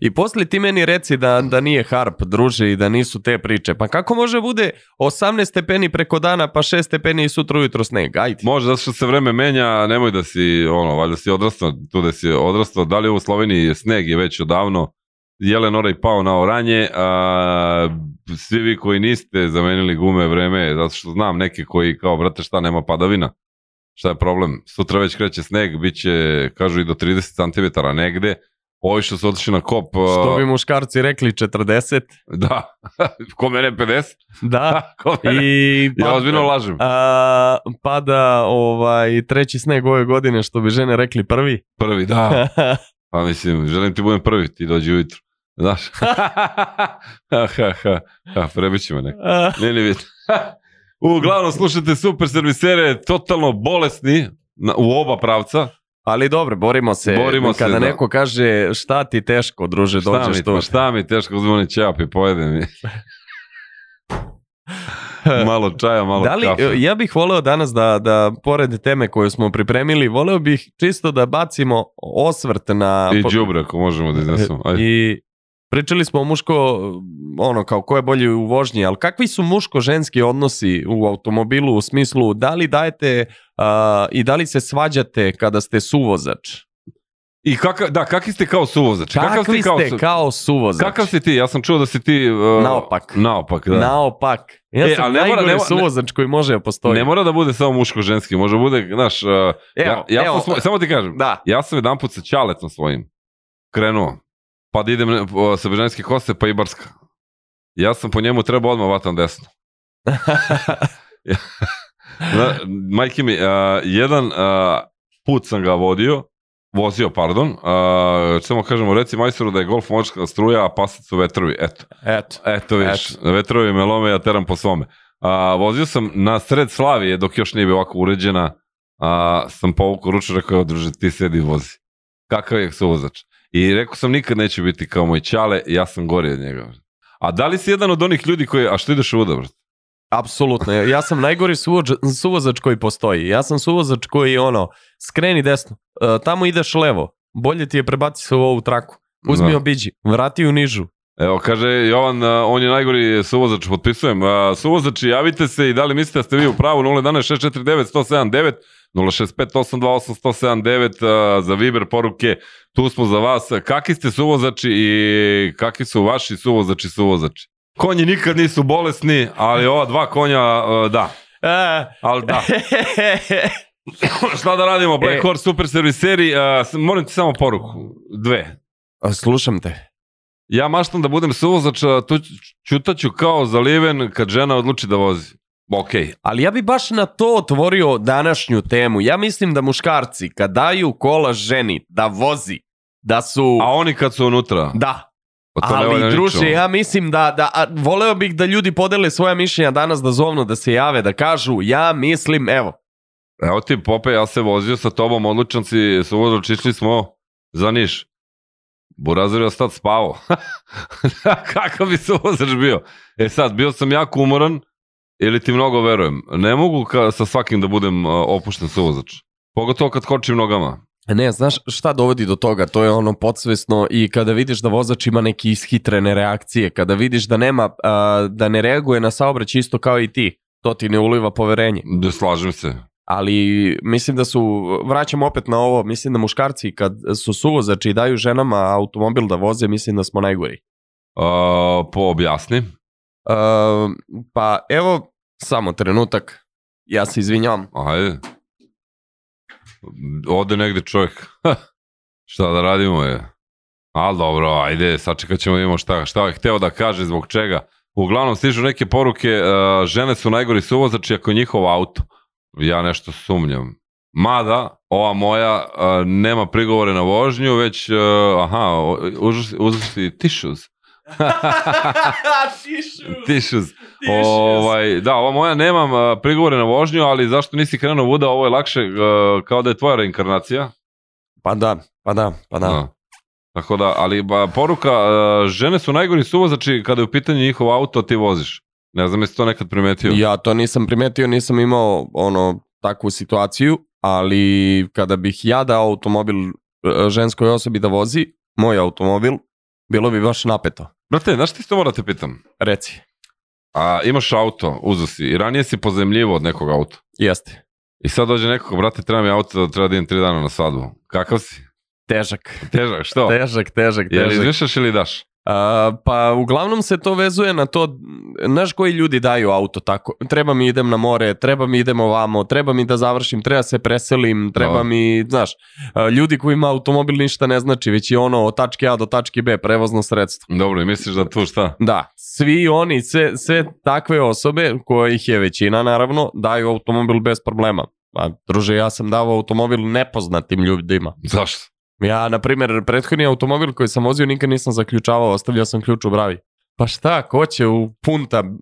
[SPEAKER 7] I posle ti meni reci da, da nije harp, druže, i da nisu te priče. Pa kako može bude 18 stepeni preko dana, pa 6 stepeni i sutra ujutro sneg? Ajde.
[SPEAKER 6] Može, zato što se vreme menja, nemoj da si, ono, valjda si odrastao, tu da si odrastao, da li u Sloveniji je sneg je već odavno, Jelen Orej pao na oranje, a, svi vi koji niste zamenili gume, vreme je, zato što znam neke koji kao, brate, šta, nema padavina. Šta je problem? Sutra već kreće sneg, bit će, kažu, i do 30 cm negde. Ovi što su otišli na kop,
[SPEAKER 7] Što bi
[SPEAKER 6] uh,
[SPEAKER 7] muškarci rekli 40,
[SPEAKER 6] da, ko mene 50,
[SPEAKER 7] da,
[SPEAKER 6] ko mene,
[SPEAKER 7] i pa-
[SPEAKER 6] ja ozbiljno lažem.
[SPEAKER 7] a, pada ovaj, treći sneg ove godine, što bi žene rekli prvi.
[SPEAKER 6] Prvi, da. Pa mislim, želim ti budem prvi, ti dođi ujutru. Znaš? ha, ha, ha, ha, prebit ćemo neko. Ne, ne vidim. Uglavnom, slušajte super servisere, totalno bolesni na, u oba pravca.
[SPEAKER 7] Ali dobro, borimo se.
[SPEAKER 6] Borimo se,
[SPEAKER 7] Kada
[SPEAKER 6] da.
[SPEAKER 7] neko kaže šta ti teško, druže,
[SPEAKER 6] Šta
[SPEAKER 7] dođeš
[SPEAKER 6] mi,
[SPEAKER 7] tu.
[SPEAKER 6] pa šta mi teško zvoni ćap i pojede mi. malo čaja, malo
[SPEAKER 7] Da li,
[SPEAKER 6] kafe.
[SPEAKER 7] ja bih voleo danas da, da pored teme koju smo pripremili, voleo bih čisto da bacimo osvrt na...
[SPEAKER 6] I džubre, ako možemo da iznesemo. Ajde.
[SPEAKER 7] I pričali smo o muško, ono kao ko je bolji u vožnji, ali kakvi su muško-ženski odnosi u automobilu u smislu da li dajete a, i da li se svađate kada ste suvozač?
[SPEAKER 6] I kakav, da, kakvi ste kao suvozač? Kakav
[SPEAKER 7] Kakvi
[SPEAKER 6] si kao,
[SPEAKER 7] ste
[SPEAKER 6] su-
[SPEAKER 7] kao suvozač?
[SPEAKER 6] Kakav si ti? Ja sam čuo da si ti... uh,
[SPEAKER 7] Naopak.
[SPEAKER 6] Naopak, da.
[SPEAKER 7] Naopak. Ja
[SPEAKER 6] E,
[SPEAKER 7] sam
[SPEAKER 6] ali ne mora-
[SPEAKER 7] najgori
[SPEAKER 6] ne mora- ne-
[SPEAKER 7] suvozač koji može da postoji.
[SPEAKER 6] Ne mora da bude samo muško-ženski, može da bude, znaš, uh, ja,
[SPEAKER 7] Evo,
[SPEAKER 6] ja
[SPEAKER 7] evo,
[SPEAKER 6] sam, smo- samo ti kažem,
[SPEAKER 7] da.
[SPEAKER 6] ja sam jedan put sa Ćaletom svojim krenuo, pa da idem uh, sa Bežanske koste, pa i Barska. Ja sam po njemu trebao odmah vatam desno. Na, majke mi, uh, jedan uh, put sam ga vodio, vozio, pardon, uh, samo kažemo, reci majstoru da je golf močka struja, a pasac su vetrovi, eto.
[SPEAKER 7] Eto.
[SPEAKER 6] Eto viš,
[SPEAKER 7] Eto.
[SPEAKER 6] vetrovi me lome, ja teram po svome. A, vozio sam na sred Slavije, dok još nije bila ovako uređena, a, sam povukao ruču, rekao, evo druže, ti sedi i vozi. Kakav je suvozač? I rekao sam, nikad neću biti kao moj čale, ja sam gori od njega. brate. A da li si jedan od onih ljudi koji, a što ideš u brate?
[SPEAKER 7] Apsolutno. Ja sam najgori suvođ- suvozač koji postoji. Ja sam suvozač koji ono, skreni desno, e, tamo ideš levo, bolje ti je prebaci se u ovu traku. Uzmi
[SPEAKER 6] Da.
[SPEAKER 7] obiđi, vrati u nižu.
[SPEAKER 6] Evo, kaže Jovan, a, on je najgori suvozač, potpisujem. A, Suvozači, javite se i da li mislite da ste vi u pravu 011 649 179 065 828 179 a, za Viber poruke, tu smo za vas. Kaki ste suvozači i kaki su vaši suvozači suvozači? Konji nikad nisu bolesni, ali ova dva konja, a, da,
[SPEAKER 7] E,
[SPEAKER 6] ali da. Šta da radimo, Black
[SPEAKER 7] E.
[SPEAKER 6] Horse Super Serviseri, a, s- moram ti samo poruku, dve.
[SPEAKER 7] a, Slušam te.
[SPEAKER 6] Ja maštam da budem suvozač, a to ću- ćutaću kao zaliven kad žena odluči da vozi. Okej.
[SPEAKER 7] Ali ja bi baš na to otvorio današnju temu. Ja mislim da muškarci kad daju kola ženi da vozi, da su...
[SPEAKER 6] A oni kad su unutra?
[SPEAKER 7] Da,
[SPEAKER 6] Pa to ne valja
[SPEAKER 7] Ali druže,
[SPEAKER 6] ničemu.
[SPEAKER 7] ja mislim da, da a, voleo bih da ljudi podele svoja mišljenja danas da zovnu, da se jave, da kažu ja mislim, evo,
[SPEAKER 6] Evo ti, Pope, ja se vozio sa tobom, odlučan si, suvozač, išli smo za Niš. Burazir je ostat spavao. Kako bi suvozač bio? E sad, bio sam jako umoran, ili ti mnogo verujem. Ne mogu ka, sa svakim da budem a, opušten suvozač. Pogotovo kad kočim nogama.
[SPEAKER 7] Ne, znaš šta dovodi do toga? To je ono podsvesno i kada vidiš da vozač ima neke ishitrene reakcije, kada vidiš da nema, a, da ne reaguje na saobrać isto kao i ti, to ti ne uliva poverenje.
[SPEAKER 6] Da slažem se.
[SPEAKER 7] Ali mislim da su, vraćam opet na ovo, mislim da muškarci kad su suvozači i daju ženama automobil da voze, mislim da smo najgori.
[SPEAKER 6] A, po objasni.
[SPEAKER 7] Um, pa evo, samo trenutak, ja se izvinjam.
[SPEAKER 6] Ajde. Ode negde čovjek. Ha, šta da radimo je? Ali dobro, ajde, sačekat ćemo da vidimo šta, šta je hteo da kaže, zbog čega. Uglavnom stižu neke poruke, e, žene su najgori suvozači ako je njihov auto. Ja nešto sumnjam. Mada, ova moja e, nema prigovore na vožnju, već, e, aha, o- uzeo si- uzeo si tišuz. Tišuz. Ovaj, da, ova moja nemam a, prigovore na vožnju, ali zašto nisi krenuo vuda, ovo je lakše a, kao da je tvoja reinkarnacija.
[SPEAKER 7] Pa da, pa da, pa da.
[SPEAKER 6] Da. Tako da, ali ba, poruka, a, žene su najgori suvozači kada je u pitanju njihov auto, a ti voziš. Ne znam jesi to nekad primetio.
[SPEAKER 7] Ja to nisam primetio, nisam imao ono takvu situaciju, ali kada bih ja dao automobil e, ženskoj osobi da vozi, moj automobil, bilo bi baš napeto.
[SPEAKER 6] Brate, znaš ti što morate pitam?
[SPEAKER 7] Reci,
[SPEAKER 6] A, imaš auto, uzo si, i ranije si pozemljivo od nekog auta.
[SPEAKER 7] jeste.
[SPEAKER 6] I sad dođe nekog, brate, treba mi auto, treba da idem tri dana na svadbu. Kakav si?
[SPEAKER 7] Težak,
[SPEAKER 6] Težak, što?
[SPEAKER 7] težak, težak,
[SPEAKER 6] Jel
[SPEAKER 7] težak.
[SPEAKER 6] izmišljaš ili daš?
[SPEAKER 7] A, pa uglavnom se to vezuje na to, znaš koji ljudi daju auto tako, treba mi idem na more, treba mi idem ovamo, treba mi da završim, treba se preselim, treba
[SPEAKER 6] Da.
[SPEAKER 7] mi, znaš, a, ljudi kojima automobil ništa ne znači, već je ono od tačke A do tačke B prevozno sredstvo.
[SPEAKER 6] Dobro, i misliš da tu šta?
[SPEAKER 7] Da, svi oni, sve, sve takve osobe, kojih je većina naravno, daju automobil bez problema. A druže, ja sam davao automobil nepoznatim ljudima.
[SPEAKER 6] Zašto?
[SPEAKER 7] Ja, na primjer, prethodni automobil koji sam vozio nikad nisam zaključavao, ostavljao sam ključ u bravi. Pa šta, ko će u punta m,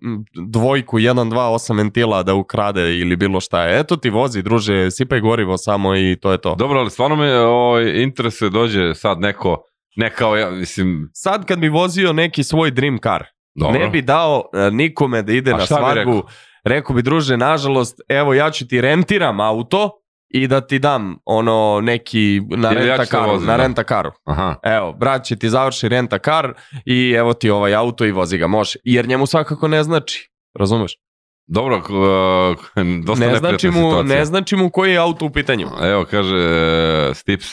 [SPEAKER 7] dvojku 1, 2, 8 ventila da ukrade ili bilo šta. Eto ti vozi, druže, sipaj gorivo samo i to je to.
[SPEAKER 6] Dobro, ali stvarno me ovaj, interesuje dođe sad neko, ne kao ja, mislim,
[SPEAKER 7] Sad kad bi vozio neki svoj dream car,
[SPEAKER 6] dobro.
[SPEAKER 7] ne bi dao e, nikome da ide
[SPEAKER 6] A
[SPEAKER 7] na
[SPEAKER 6] šta bi
[SPEAKER 7] svadbu.
[SPEAKER 6] rekao?
[SPEAKER 7] Rekao? bi, druže, nažalost, evo ja ću ti rentiram auto i da ti dam ono neki na
[SPEAKER 6] Ili ja ću te
[SPEAKER 7] rentakaru,
[SPEAKER 6] vozim,
[SPEAKER 7] na
[SPEAKER 6] da.
[SPEAKER 7] rentakaru.
[SPEAKER 6] Aha.
[SPEAKER 7] Evo, brat će ti završi renta kar i evo ti ovaj auto i vozi ga, može. Jer njemu svakako ne znači, razumeš?
[SPEAKER 6] Dobro, uh, dosta
[SPEAKER 7] Ne
[SPEAKER 6] neprijatna
[SPEAKER 7] znači, mu,
[SPEAKER 6] situacija.
[SPEAKER 7] ne znači mu koji je auto u pitanju.
[SPEAKER 6] Evo, kaže e, Stips.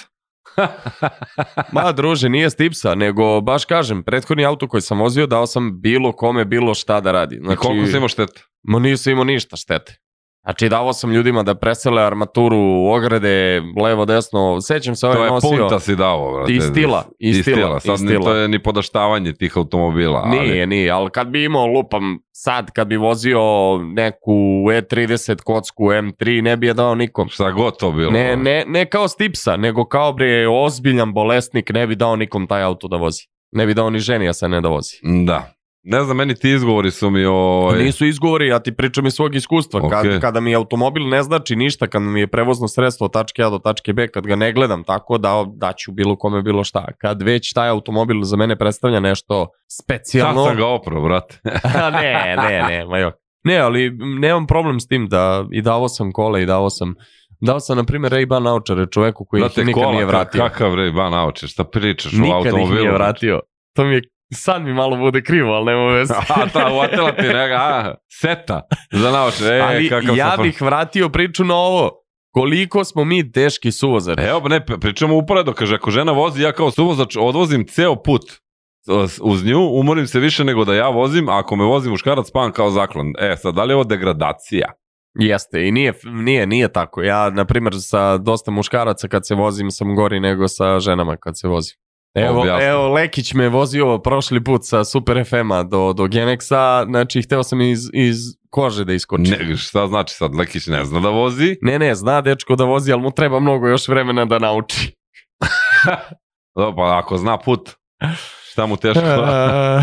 [SPEAKER 7] Ma druže, nije stipsa, nego baš kažem, prethodni auto koji sam vozio dao sam bilo kome bilo šta da radi.
[SPEAKER 6] Znači, koliko si imao šteta?
[SPEAKER 7] Ma nisam imao ništa štete. Znači, davao sam ljudima da presele armaturu, ograde, levo, desno, sećam se ovaj
[SPEAKER 6] to je
[SPEAKER 7] nosio.
[SPEAKER 6] punta si dao, brate.
[SPEAKER 7] Iz stila, iz
[SPEAKER 6] Iz
[SPEAKER 7] stila,
[SPEAKER 6] stila. Sad
[SPEAKER 7] iz
[SPEAKER 6] ni-
[SPEAKER 7] stila.
[SPEAKER 6] to je ni podaštavanje tih automobila. ali-
[SPEAKER 7] Nije, nije, ali kad bi imao lupam sad, kad bi vozio neku E30 kocku M3, ne bi je dao nikom.
[SPEAKER 6] Šta god to bilo. ono.
[SPEAKER 7] Ne, ne, ne kao stipsa, nego kao bre ozbiljan bolesnik, ne bi dao nikom taj auto da vozi. Ne bi dao ni ženi, a sad ne da vozi.
[SPEAKER 6] Da. Ne znam, meni ti izgovori su mi ovaj...
[SPEAKER 7] Nisu izgovori, ja ti pričam iz svog iskustva.
[SPEAKER 6] Okej.
[SPEAKER 7] Kad, kada mi automobil ne znači ništa, kad mi je prevozno sredstvo od tačke A do tačke B, kad ga ne gledam tako da daću bilo kome bilo šta. Kad već taj automobil za mene predstavlja nešto
[SPEAKER 6] Sad
[SPEAKER 7] specijalno...
[SPEAKER 6] sam ga oprao, brate.
[SPEAKER 7] A ne, ne, ne, ma jok. Ne, ali nemam problem s tim da i davao sam kole i davao sam Dao sam, na primjer, Ray-Ban naočare čoveku koji
[SPEAKER 6] Brate,
[SPEAKER 7] ih nikad
[SPEAKER 6] kola,
[SPEAKER 7] nije
[SPEAKER 6] ka-
[SPEAKER 7] vratio.
[SPEAKER 6] Kakav rej, ba, nauče, šta pričaš u
[SPEAKER 7] nikad
[SPEAKER 6] automobilu?
[SPEAKER 7] ih nije vratio. To mi je, sad mi malo bude krivo, ali nema veze.
[SPEAKER 6] a, ta, uvatila ti neka, a, seta za nauče. E,
[SPEAKER 7] ali
[SPEAKER 6] kakav
[SPEAKER 7] ja
[SPEAKER 6] sam...
[SPEAKER 7] bih vratio priču na ovo. Koliko smo mi teški suvozari.
[SPEAKER 6] Evo, ne, pričamo uporedo, kaže, ako žena vozi, ja kao suvozač odvozim ceo put uz nju, umorim se više nego da ja vozim, a ako me vozi muškarac, spavam kao zaklon. E, sad, da li je ovo degradacija?
[SPEAKER 7] Jeste, i nije, nije, nije tako. Ja, na primjer, sa dosta muškaraca kad se vozim sam gori nego sa ženama kad se vozim. Evo,
[SPEAKER 6] Objasni.
[SPEAKER 7] evo Lekić me vozio prošli put sa Super FM-a do, do Genexa, znači hteo sam iz, iz kože da iskočim. Ne.
[SPEAKER 6] Ne, šta znači sad, Lekić ne zna da vozi?
[SPEAKER 7] ne, zna dečko da vozi, ali mu treba mnogo još vremena da nauči.
[SPEAKER 6] Dobro, pa ako zna put, šta mu teško?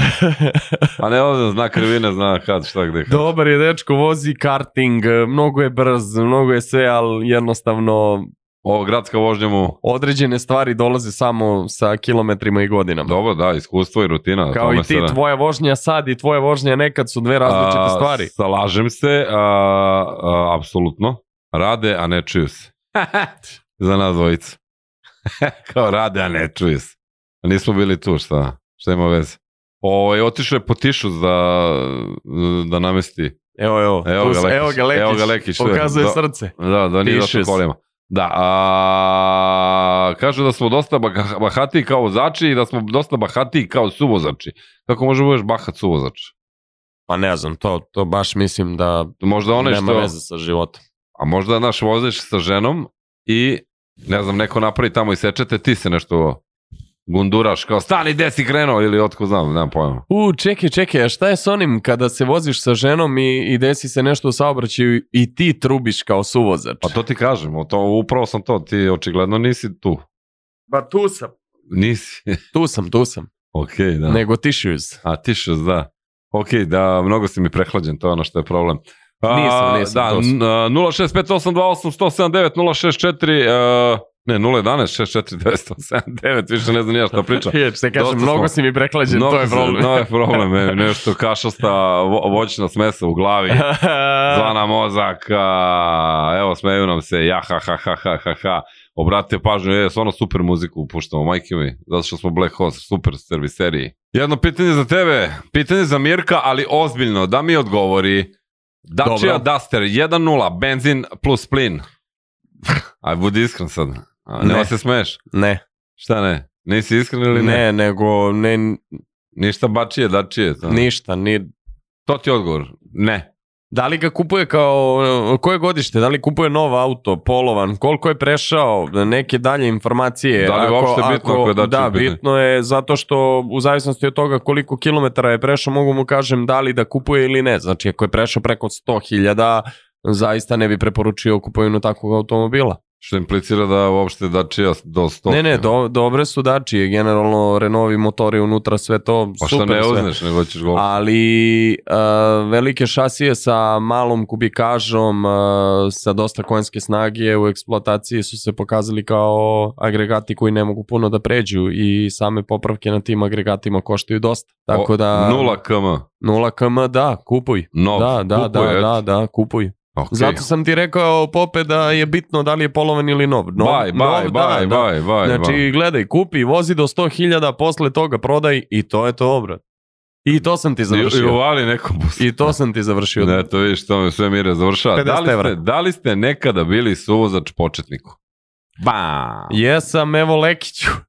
[SPEAKER 6] A ne, ovdje zna krivine, zna kad, šta gde. kad.
[SPEAKER 7] Dobar je dečko, vozi karting, mnogo je brz, mnogo je sve, ali jednostavno
[SPEAKER 6] Ovo, gradska vožnja mu,
[SPEAKER 7] određene stvari dolaze samo sa kilometrima i godinama.
[SPEAKER 6] dobro, da, iskustvo i rutina. o
[SPEAKER 7] Kao
[SPEAKER 6] tome
[SPEAKER 7] i
[SPEAKER 6] se
[SPEAKER 7] ti,
[SPEAKER 6] ra-
[SPEAKER 7] tvoja vožnja sad i tvoja vožnja nekad su dve različite
[SPEAKER 6] A,
[SPEAKER 7] stvari.
[SPEAKER 6] Salažem se, a, a, apsolutno. Rade, a ne čuju se. Za nas dvojicu. Kao rade, a ne čuju se. Nismo bili tu, šta? Šta ima veze? Ovo, je otišao je po tišu za, da namesti.
[SPEAKER 7] Evo, evo,
[SPEAKER 6] Evo
[SPEAKER 7] tu
[SPEAKER 6] ga
[SPEAKER 7] su-
[SPEAKER 6] Lekić.
[SPEAKER 7] evo ga Lekić,
[SPEAKER 6] Evo ga Lekić, tu je.
[SPEAKER 7] pokazuje
[SPEAKER 6] Da.
[SPEAKER 7] srce.
[SPEAKER 6] Da, da nije
[SPEAKER 7] Tiše
[SPEAKER 6] došao
[SPEAKER 7] se.
[SPEAKER 6] kolima. Da, a, kažu da smo dosta baka- bahati kao vozači i da smo dosta bahati kao suvozači. Kako može budeš bahat suvozač?
[SPEAKER 7] Pa ne znam, to, to baš mislim da
[SPEAKER 6] Možda onaj
[SPEAKER 7] nema
[SPEAKER 6] što...
[SPEAKER 7] veze sa životom.
[SPEAKER 6] A možda, naš voziš sa ženom i, ne znam, neko napravi tamo i sečete, ti se nešto gunduraš, kao stani, gde si krenuo, ili otko znam, nemam pojma.
[SPEAKER 7] U, čekaj, čekaj, a šta je s onim kada se voziš sa ženom i, i desi se nešto u saobraćaju i ti trubiš kao suvozač?
[SPEAKER 6] Pa to ti kažem, o to, upravo sam to, ti očigledno nisi tu.
[SPEAKER 7] Pa tu sam.
[SPEAKER 6] Nisi.
[SPEAKER 7] Tu sam, tu sam.
[SPEAKER 6] ok, da.
[SPEAKER 7] Nego tissues.
[SPEAKER 6] A tišas, da. Ok, da, mnogo si mi prehlađen, to je ono što je problem. A,
[SPEAKER 7] Nisam, nisam,
[SPEAKER 6] Da,
[SPEAKER 7] to sam.
[SPEAKER 6] n- a, 065828179, 064, uh, ne, 011-649, više ne znam ni ja šta pričam.
[SPEAKER 7] Riječ, se
[SPEAKER 6] Dosta
[SPEAKER 7] kažem,
[SPEAKER 6] smo.
[SPEAKER 7] mnogo si mi preklađen,
[SPEAKER 6] Mnogo
[SPEAKER 7] to je
[SPEAKER 6] se-
[SPEAKER 7] problem.
[SPEAKER 6] To je problem, e, nešto kašasta, vo- voćna smesa u glavi, zvana mozak, a, evo smeju nam se, ja ha ha ha ha ha ha. Obratite pažnju, je, stvarno super muziku upuštamo, majke mi, zato što smo Black Horse, super serviseriji. Jedno pitanje za tebe, pitanje za Mirka, ali ozbiljno, da mi odgovori. Dacia
[SPEAKER 7] Dobro.
[SPEAKER 6] Duster 1.0, benzin plus plin. Aj, budi iskren sad. A, nema
[SPEAKER 7] Ne.
[SPEAKER 6] se smeješ.
[SPEAKER 7] ne,
[SPEAKER 6] Šta ne? Nisi iskren ili ne?
[SPEAKER 7] ne, nego ne,
[SPEAKER 6] Ništa bačije, dačije. To.
[SPEAKER 7] Ništa, ni...
[SPEAKER 6] to ti je odgovor. Ne.
[SPEAKER 7] Da li ga kupuje kao, e, koje godište, da li kupuje nov auto, polovan, koliko je prešao, neke dalje informacije.
[SPEAKER 6] Da li je uopšte bitno ako je dačije
[SPEAKER 7] Da,
[SPEAKER 6] pitanje?
[SPEAKER 7] bitno je zato što u zavisnosti od toga koliko kilometara je prešao, mogu mu kažem da li da kupuje ili ne. Znači, ako je prešao preko 100.000, zaista ne bi preporučio kupovinu takvog automobila.
[SPEAKER 6] Što implicira da uopšte dačija do 100.
[SPEAKER 7] Ne, ne, do, dobre su dačije, generalno Renovi motori unutra, sve to,
[SPEAKER 6] Pa što
[SPEAKER 7] super
[SPEAKER 6] ne
[SPEAKER 7] sve.
[SPEAKER 6] uzneš, nego ćeš golf.
[SPEAKER 7] Ali e, velike šasije sa malom kubikažom, e, sa dosta konjske snage u eksploataciji su se pokazali kao agregati koji ne mogu puno da pređu i same popravke na tim agregatima koštaju dosta. Tako da...
[SPEAKER 6] 0 km.
[SPEAKER 7] 0 km, da, kupuj.
[SPEAKER 6] Nov.
[SPEAKER 7] da, da,
[SPEAKER 6] Kupuje,
[SPEAKER 7] da,
[SPEAKER 6] eto.
[SPEAKER 7] da, da, kupuj.
[SPEAKER 6] Okay.
[SPEAKER 7] Zato sam ti rekao, Pope, da je bitno da li je polovan ili nov. nov
[SPEAKER 6] baj, baj,
[SPEAKER 7] nov,
[SPEAKER 6] baj,
[SPEAKER 7] da,
[SPEAKER 6] baj, baj.
[SPEAKER 7] Znači,
[SPEAKER 6] baj.
[SPEAKER 7] gledaj, kupi, vozi do 100.000, posle toga prodaj i to je to, brat. I to sam ti
[SPEAKER 6] I, I
[SPEAKER 7] završio.
[SPEAKER 6] uvali neko bus.
[SPEAKER 7] I to sam ti završio.
[SPEAKER 6] Ne, to vidiš, to me sve mire završava. Da li,
[SPEAKER 7] 50 evra.
[SPEAKER 6] ste, da li ste nekada bili suvozač početniku? Ba!
[SPEAKER 7] Jesam, evo Lekiću.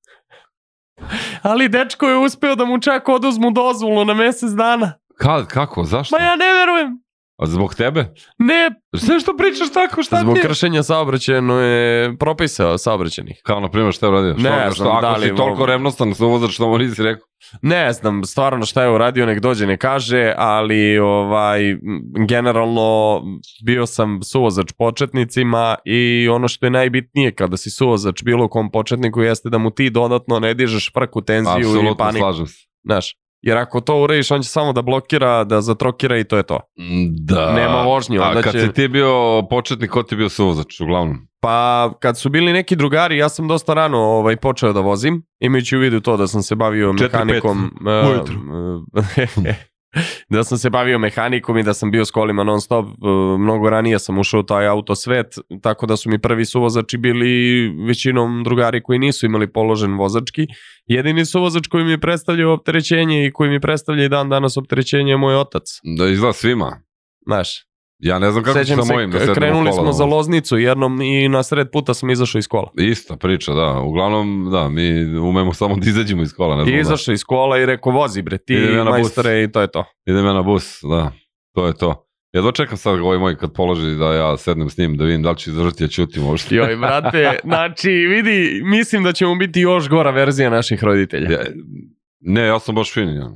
[SPEAKER 7] Ali dečko je uspeo da mu čak oduzmu dozvolu na mesec dana.
[SPEAKER 6] Kad, kako, zašto?
[SPEAKER 7] Ma ja ne verujem.
[SPEAKER 6] A zbog tebe?
[SPEAKER 7] Ne,
[SPEAKER 6] Sve što pričaš tako, šta
[SPEAKER 7] zbog
[SPEAKER 6] ti je?
[SPEAKER 7] kršenja saobraćajno je propisao saobraćenih.
[SPEAKER 6] Kao, na primjer, šta je uradio?
[SPEAKER 7] Ne
[SPEAKER 6] što,
[SPEAKER 7] znam,
[SPEAKER 6] što,
[SPEAKER 7] da
[SPEAKER 6] ako
[SPEAKER 7] li
[SPEAKER 6] si toliko
[SPEAKER 7] mogu.
[SPEAKER 6] revnostan suvozač, što mu nisi rekao?
[SPEAKER 7] Ne znam stvarno šta je uradio, nek dođe ne kaže, ali ovaj m, generalno bio sam suvozač početnicima i ono što je najbitnije kada si suvozač bilo kom početniku jeste da mu ti dodatno ne dižeš frku, tenziju i
[SPEAKER 6] Apsolutno,
[SPEAKER 7] paniku,
[SPEAKER 6] slažem se.
[SPEAKER 7] znaš. Jer ako to uradiš, on će samo da blokira, da zatrokira i to je to.
[SPEAKER 6] Da.
[SPEAKER 7] Nema vožnje,
[SPEAKER 6] A
[SPEAKER 7] onda
[SPEAKER 6] kad
[SPEAKER 7] će...
[SPEAKER 6] si ti bio početnik, ko ti je bio suvozač, uglavnom?
[SPEAKER 7] Pa kad su bili neki drugari, ja sam dosta rano ovaj, počeo da vozim, imajući u vidu to da sam se bavio
[SPEAKER 6] Četiri, pet
[SPEAKER 7] mehanikom. e,
[SPEAKER 6] ujutru.
[SPEAKER 7] e, da sam se bavio mehanikom i da sam bio s kolima non stop, e, mnogo ranije sam ušao u taj auto svet, tako da su mi prvi suvozači bili većinom drugari koji nisu imali položen vozački. Jedini suvozač koji mi je predstavljao opterećenje i koji mi predstavlja i dan danas opterećenje je moj otac.
[SPEAKER 6] Da izgleda svima.
[SPEAKER 7] Znaš,
[SPEAKER 6] Ja ne znam kako ću
[SPEAKER 7] Sećam
[SPEAKER 6] sa mojim da sedem u
[SPEAKER 7] krenuli
[SPEAKER 6] kola,
[SPEAKER 7] smo
[SPEAKER 6] ono.
[SPEAKER 7] za Loznicu jednom i na sred puta sam izašao iz kola.
[SPEAKER 6] Ista priča, da. Uglavnom, da, mi umemo samo da izađemo iz kola. Ne znam,
[SPEAKER 7] I izašao iz kola i rekao vozi bre, ti
[SPEAKER 6] Idem ja na bus.
[SPEAKER 7] majstore i to je to.
[SPEAKER 6] Da. Idem ja na bus, da. To je to. Jedva čekam sad ovaj moj kad položi da ja sednem s njim da vidim da li će izdržati, ja ćutim uopšte.
[SPEAKER 7] Joj, brate, znači vidi, mislim da će mu biti još gora verzija naših roditelja.
[SPEAKER 6] Ja, ne, ja sam baš fin. Ja.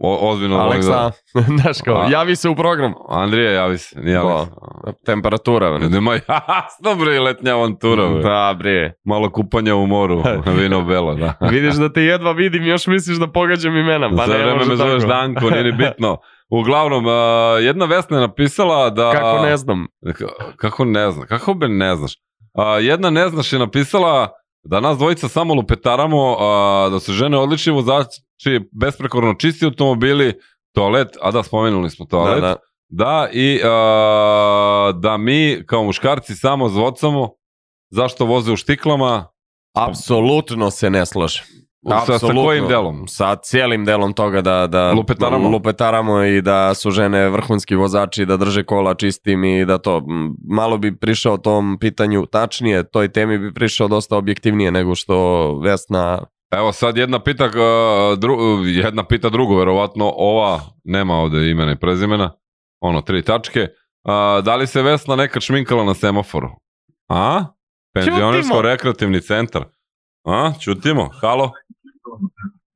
[SPEAKER 6] O, ozbiljno. volim
[SPEAKER 7] Aleksa,
[SPEAKER 6] Da.
[SPEAKER 7] znaš kao,
[SPEAKER 6] A-
[SPEAKER 7] javi se u program.
[SPEAKER 6] Andrija, javi se. Nije
[SPEAKER 7] Ko?
[SPEAKER 6] Aleksa.
[SPEAKER 7] Temperatura, bre.
[SPEAKER 6] Nemoj, jasno bre, letnja avantura. Bre.
[SPEAKER 7] Da, bre.
[SPEAKER 6] Malo kupanja u moru, vino belo, da.
[SPEAKER 7] Vidiš da te jedva vidim, još misliš da pogađam imena. Pa
[SPEAKER 6] Za
[SPEAKER 7] ne,
[SPEAKER 6] vreme
[SPEAKER 7] može
[SPEAKER 6] me zoveš
[SPEAKER 7] tako.
[SPEAKER 6] Danko, nije ni bitno. Uglavnom, a, jedna Vesna je napisala da...
[SPEAKER 7] Kako ne znam.
[SPEAKER 6] Ka- Kako ne znaš? Kako be ne znaš? A, jedna ne znaš je napisala da nas dvojica samo lupetaramo, a, da su žene odlični vozači, besprekorno čisti automobili, toalet, a da, spomenuli smo toalet.
[SPEAKER 7] Da, da.
[SPEAKER 6] Da, i a, da mi kao muškarci samo zvocamo zašto voze u štiklama,
[SPEAKER 7] Apsolutno se ne slažem.
[SPEAKER 6] sa, sa
[SPEAKER 7] Apsolutno.
[SPEAKER 6] kojim delom?
[SPEAKER 7] sa cijelim delom toga da, da
[SPEAKER 6] Lupetaramo.
[SPEAKER 7] lupetaramo i da su žene vrhunski vozači, da drže kola čistim i da to, m, malo bi prišao tom pitanju tačnije, toj temi bi prišao dosta objektivnije nego što Vesna,
[SPEAKER 6] Evo sad jedna pita, uh, dru, uh, jedna pita drugu, verovatno ova nema ovde imena i prezimena, ono tri tačke. Uh, da li se Vesna nekad šminkala na semaforu? A? Penzionersko rekreativni centar. A? Čutimo? Halo?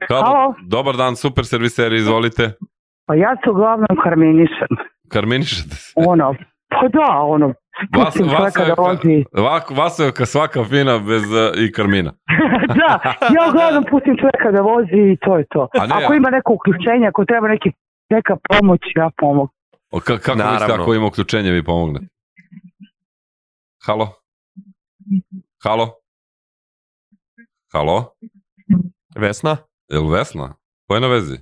[SPEAKER 6] Halo?
[SPEAKER 5] Halo.
[SPEAKER 6] Dobar dan, super serviseri, izvolite.
[SPEAKER 5] Pa ja se uglavnom harminišem.
[SPEAKER 6] Karminišete se.
[SPEAKER 5] Ono, pa da, ono,
[SPEAKER 6] Vas,
[SPEAKER 5] pustim
[SPEAKER 6] vas,
[SPEAKER 5] čovjeka da vozi.
[SPEAKER 6] vas, Vasojevka svaka fina bez uh, i Karmina.
[SPEAKER 5] da, ja uglavnom pustim čovjeka da vozi i to je to.
[SPEAKER 6] A ne,
[SPEAKER 5] ako
[SPEAKER 6] a-
[SPEAKER 5] ima neko uključenje, ako treba neki, neka pomoć, ja pomog.
[SPEAKER 6] O, ka, kako
[SPEAKER 7] Naravno.
[SPEAKER 6] mislite ako ima uključenje vi pomognete? Halo? Halo? Halo?
[SPEAKER 7] Vesna?
[SPEAKER 6] Jel Vesna? Ko je na vezi?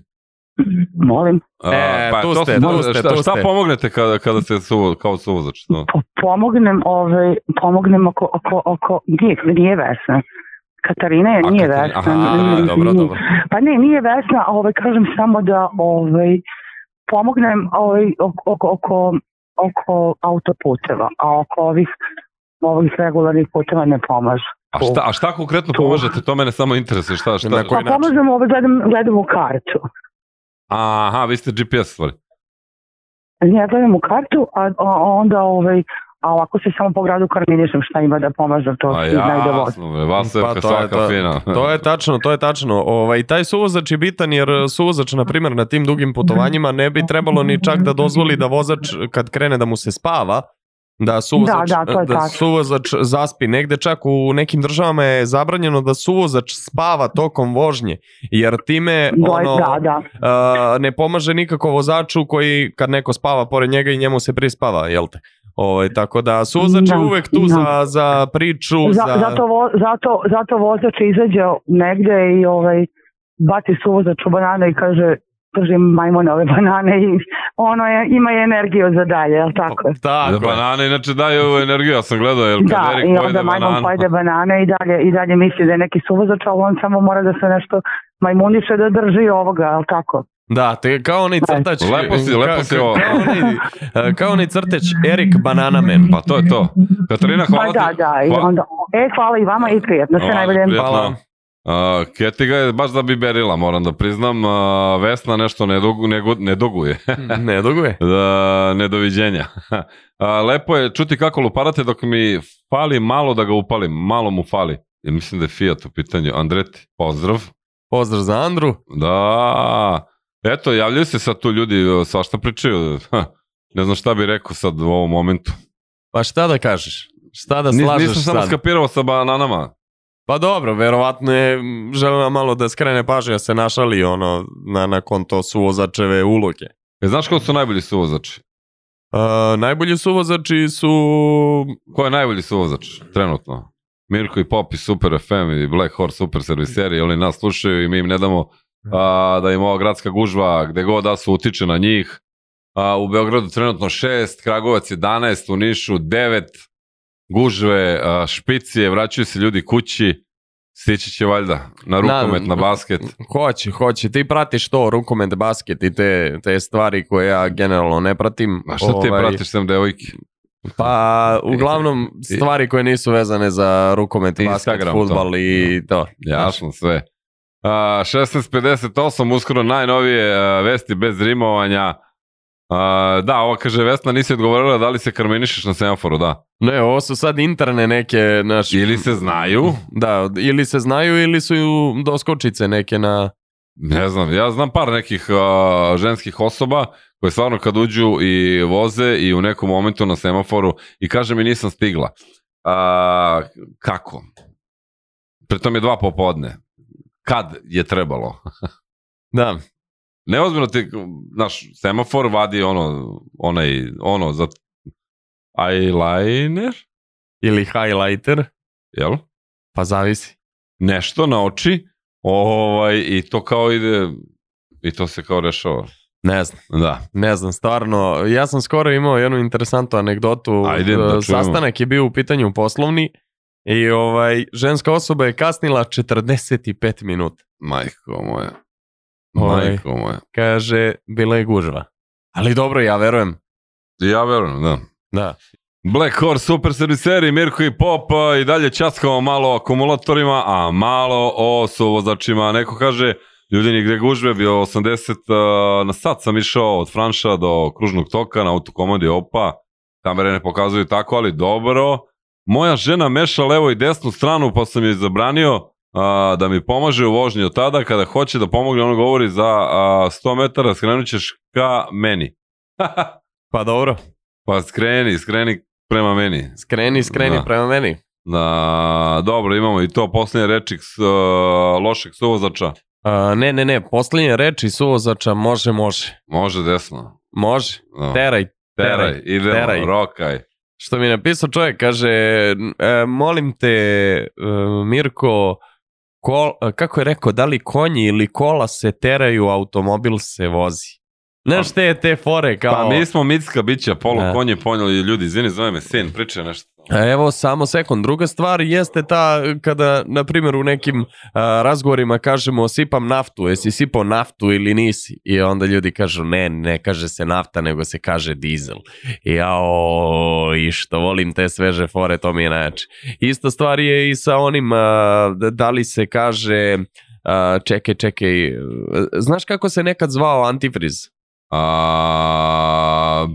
[SPEAKER 5] Molim,
[SPEAKER 6] A, pa,
[SPEAKER 7] E, tu ste,
[SPEAKER 6] su-
[SPEAKER 7] tu ste,
[SPEAKER 6] šta,
[SPEAKER 7] tu
[SPEAKER 6] šta
[SPEAKER 7] ste.
[SPEAKER 6] pomognete kada, kada ste su, kao suvozač? No.
[SPEAKER 5] po- pomognem, ovaj, pomognem ako, ako, ako, nije, nije vesna. Katarina je,
[SPEAKER 6] A,
[SPEAKER 5] nije
[SPEAKER 6] Katarina-
[SPEAKER 5] vesna.
[SPEAKER 6] aha,
[SPEAKER 7] E,
[SPEAKER 5] Mm,
[SPEAKER 6] dobro,
[SPEAKER 5] mm.
[SPEAKER 6] dobro.
[SPEAKER 5] Pa ne, nije vesna, a ovaj, kažem samo da ovaj, pomognem ovaj, oko, oko, oko, oko autoputeva, a oko ovih ovih regularnih puteva ne pomažu.
[SPEAKER 6] A šta, a šta konkretno
[SPEAKER 5] To.
[SPEAKER 6] pomažete? To mene samo interesuje. Šta, šta?
[SPEAKER 7] Na koji
[SPEAKER 5] Pa
[SPEAKER 7] način?
[SPEAKER 5] pomažemo, ove gledam, gledam u kartu.
[SPEAKER 6] Aha, vi ste GPS stvari.
[SPEAKER 5] Ja gledam u kartu, a, a onda ovaj, a ovako se samo po gradu karminišem šta ima da pomažem, to
[SPEAKER 6] A
[SPEAKER 5] svi znaju da voze.
[SPEAKER 6] jasno, bre, vaserka
[SPEAKER 7] Pa, to je
[SPEAKER 6] svaka
[SPEAKER 7] to.
[SPEAKER 6] fina.
[SPEAKER 7] To je tačno, to je tačno. Ovaj, taj suvozač je bitan jer e, suvozač, na primjer, na tim dugim putovanjima ne bi trebalo ni čak da dozvoli da vozač kad krene da mu se spava, da suvozač,
[SPEAKER 5] Da, da, to je tačno.
[SPEAKER 7] suvozač zaspi. Negde čak u nekim državama je zabranjeno da suvozač spava tokom vožnje, jer time ono,
[SPEAKER 5] Da, da.
[SPEAKER 7] a, ne pomaže nikako vozaču koji kad neko spava pored njega i njemu se prispava, jel te? Ovaj, tako da suvozač je
[SPEAKER 5] Da,
[SPEAKER 7] uvek tu
[SPEAKER 5] da.
[SPEAKER 7] za, za priču,
[SPEAKER 5] Za, zato, vo, zato, zato vozač izađe negde i ovaj, baci suvozač u banane i kaže držim majmone ove banane i ono je, ima je energiju za dalje, jel tako?
[SPEAKER 7] Pa, Tako,
[SPEAKER 6] Da,
[SPEAKER 7] je.
[SPEAKER 6] banane inače daju energiju, ja sam gledao, jel kad
[SPEAKER 5] Da,
[SPEAKER 6] Erik
[SPEAKER 5] i
[SPEAKER 6] pojede
[SPEAKER 5] onda majmon
[SPEAKER 6] bananu-
[SPEAKER 5] pojede banane i dalje, i dalje misli da je neki suvozač, ali on samo mora da se nešto majmuniše da drži ovoga, jel tako?
[SPEAKER 7] Da, to je kao onaj crtač.
[SPEAKER 6] Lepo si, lepo si
[SPEAKER 7] Ka- ka-
[SPEAKER 6] ovo.
[SPEAKER 7] Kao onaj, e, kao onaj crtač Erik Banana Man.
[SPEAKER 6] Pa to je to. Katarina,
[SPEAKER 5] Pa
[SPEAKER 6] hvala
[SPEAKER 5] da,
[SPEAKER 6] ti.
[SPEAKER 5] da, i
[SPEAKER 6] Hva-
[SPEAKER 5] onda, e, hvala i vama i prijetno, sve
[SPEAKER 6] Hvala,
[SPEAKER 5] najbolje.
[SPEAKER 6] prijatno.
[SPEAKER 7] Hvala.
[SPEAKER 6] A, Keti ga je baš da bi berila, moram da priznam. A, Vesna nešto ne, dogu, ne, go- ne doguje.
[SPEAKER 7] Ne duguje.
[SPEAKER 6] Da, nedoviđenja. A, lepo je čuti kako luparate dok mi fali malo da ga upalim. Malo mu fali. I mislim da je Fiat u pitanju. Andreti, pozdrav.
[SPEAKER 7] Pozdrav za Andru.
[SPEAKER 6] Da. Eto, javljaju se sad tu ljudi, svašta pričaju. Ha, Ne znam šta bi rekao sad u ovom momentu.
[SPEAKER 7] Pa šta da kažeš? Šta da
[SPEAKER 6] Nis-
[SPEAKER 7] slažeš
[SPEAKER 6] Nisam samo
[SPEAKER 7] sad?
[SPEAKER 6] skapirao sa bananama.
[SPEAKER 7] Pa dobro, verovatno je m, želela malo da skrene pažnju, ja se našali ono na, na konto suvozačeve uloge.
[SPEAKER 6] E, znaš ko su najbolji suvozači?
[SPEAKER 7] E, najbolji suvozači su...
[SPEAKER 6] Ko je najbolji suvozač trenutno? Mirko i Popi, Super FM i Black Horse Super serviseri, oni nas slušaju i mi im ne damo a, da im ova gradska gužva gde god da su utiče na njih. A, u Beogradu trenutno 6, Kragovac 11, u Nišu 9, gužve, a, špicije, vraćaju se ljudi kući, stići će valjda na rukomet, na basket.
[SPEAKER 7] Hoće, hoće. Ti pratiš to, rukomet, basket i te, te stvari koje ja generalno ne pratim.
[SPEAKER 6] A šta ti
[SPEAKER 7] Ovaj,
[SPEAKER 6] pratiš sam devojke?
[SPEAKER 7] Pa, uglavnom,
[SPEAKER 6] I-
[SPEAKER 7] stvari koje nisu vezane za rukomet, basket,
[SPEAKER 6] Instagram, to.
[SPEAKER 7] futbal i to.
[SPEAKER 6] Jasno sve. A, 16.58, uskoro najnovije a, vesti bez rimovanja. A, da, ova kaže Vesna, nisi odgovorila da li se karminišeš na semaforu, da.
[SPEAKER 7] Ne, ovo su sad interne neke, naš...
[SPEAKER 6] Ili se znaju,
[SPEAKER 7] Da, ili se znaju ili su doskočice neke na...
[SPEAKER 6] ne znam, ja znam par nekih a, ženskih osoba koje stvarno kad uđu i voze i u nekom momentu na semaforu i kaže mi nisam stigla. A, kako? Pritom je dva popodne. Kad je trebalo?
[SPEAKER 7] Da,
[SPEAKER 6] neozbiljno ti, znaš, semafor vadi ono, onaj, ono, za eyeliner,
[SPEAKER 7] ili highlighter,
[SPEAKER 6] jel?
[SPEAKER 7] pa zavisi.
[SPEAKER 6] Nešto na oči, ovaj, i to kao ide, i to se kao rešava.
[SPEAKER 7] Ne znam,
[SPEAKER 6] Da.
[SPEAKER 7] ne znam, stvarno. Ja sam skoro imao jednu interesantnu anegdotu. E,
[SPEAKER 6] Ajde, da čujemo.
[SPEAKER 7] Sastanak je bio u pitanju poslovni i ovaj, ženska osoba je kasnila 45 minuta.
[SPEAKER 6] Majko moja.
[SPEAKER 7] Ovaj.
[SPEAKER 6] Majko moja.
[SPEAKER 7] Kaže, bila je gužva. Ali dobro, ja verujem.
[SPEAKER 6] Ja verujem, da.
[SPEAKER 7] Da.
[SPEAKER 6] Black Horse Super Serviseri, Mirko i Pop a, i dalje časkamo malo o akumulatorima, a malo o suvozačima. Neko kaže, ljudi nigde gužve, bio 80 a, na sat sam išao od Franša do kružnog toka na autokomandi Opa. Kamere ne pokazuju tako, ali dobro. Moja žena meša levo i desnu stranu, pa sam joj zabranio a, da mi pomaže u vožnji od tada. Kada hoće da pomogne, ona govori za a, 100 metara skrenut ćeš ka meni.
[SPEAKER 7] Pa dobro,
[SPEAKER 6] Pa skreni, skreni prema meni.
[SPEAKER 7] skreni, skreni
[SPEAKER 6] Da.
[SPEAKER 7] prema meni.
[SPEAKER 6] Na, dobro, imamo i to posljednje reči s, e, lošeg suvozača.
[SPEAKER 7] A, ne, ne, ne, posljednje reči suvozača može, može.
[SPEAKER 6] Može desno.
[SPEAKER 7] Može,
[SPEAKER 6] Da.
[SPEAKER 7] teraj.
[SPEAKER 6] teraj, idemo,
[SPEAKER 7] teraj.
[SPEAKER 6] rokaj.
[SPEAKER 7] Što mi je napisao čovjek, kaže, e, molim te, e, Mirko, kol, e, kako je rekao, da li konji ili kola se teraju, automobil se vozi. Znaš te, te fore kao...
[SPEAKER 6] Pa mi smo mitska bića, polu
[SPEAKER 7] Da.
[SPEAKER 6] konje ponjeli ljudi, izvini, zove me sin, priča nešto.
[SPEAKER 7] A Evo, samo sekund. Druga stvar jeste ta kada, na primjer, u nekim a, razgovorima kažemo sipam naftu, jesi sipao naftu ili nisi? I onda ljudi kažu ne, ne kaže se nafta, nego se kaže dizel. I jao, i što volim te sveže fore, to mi je najjače. Ista stvar je i sa onim, a, da- da li se kaže, a, čekaj, čekaj, e, znaš kako se nekad zvao antifriz?
[SPEAKER 6] A,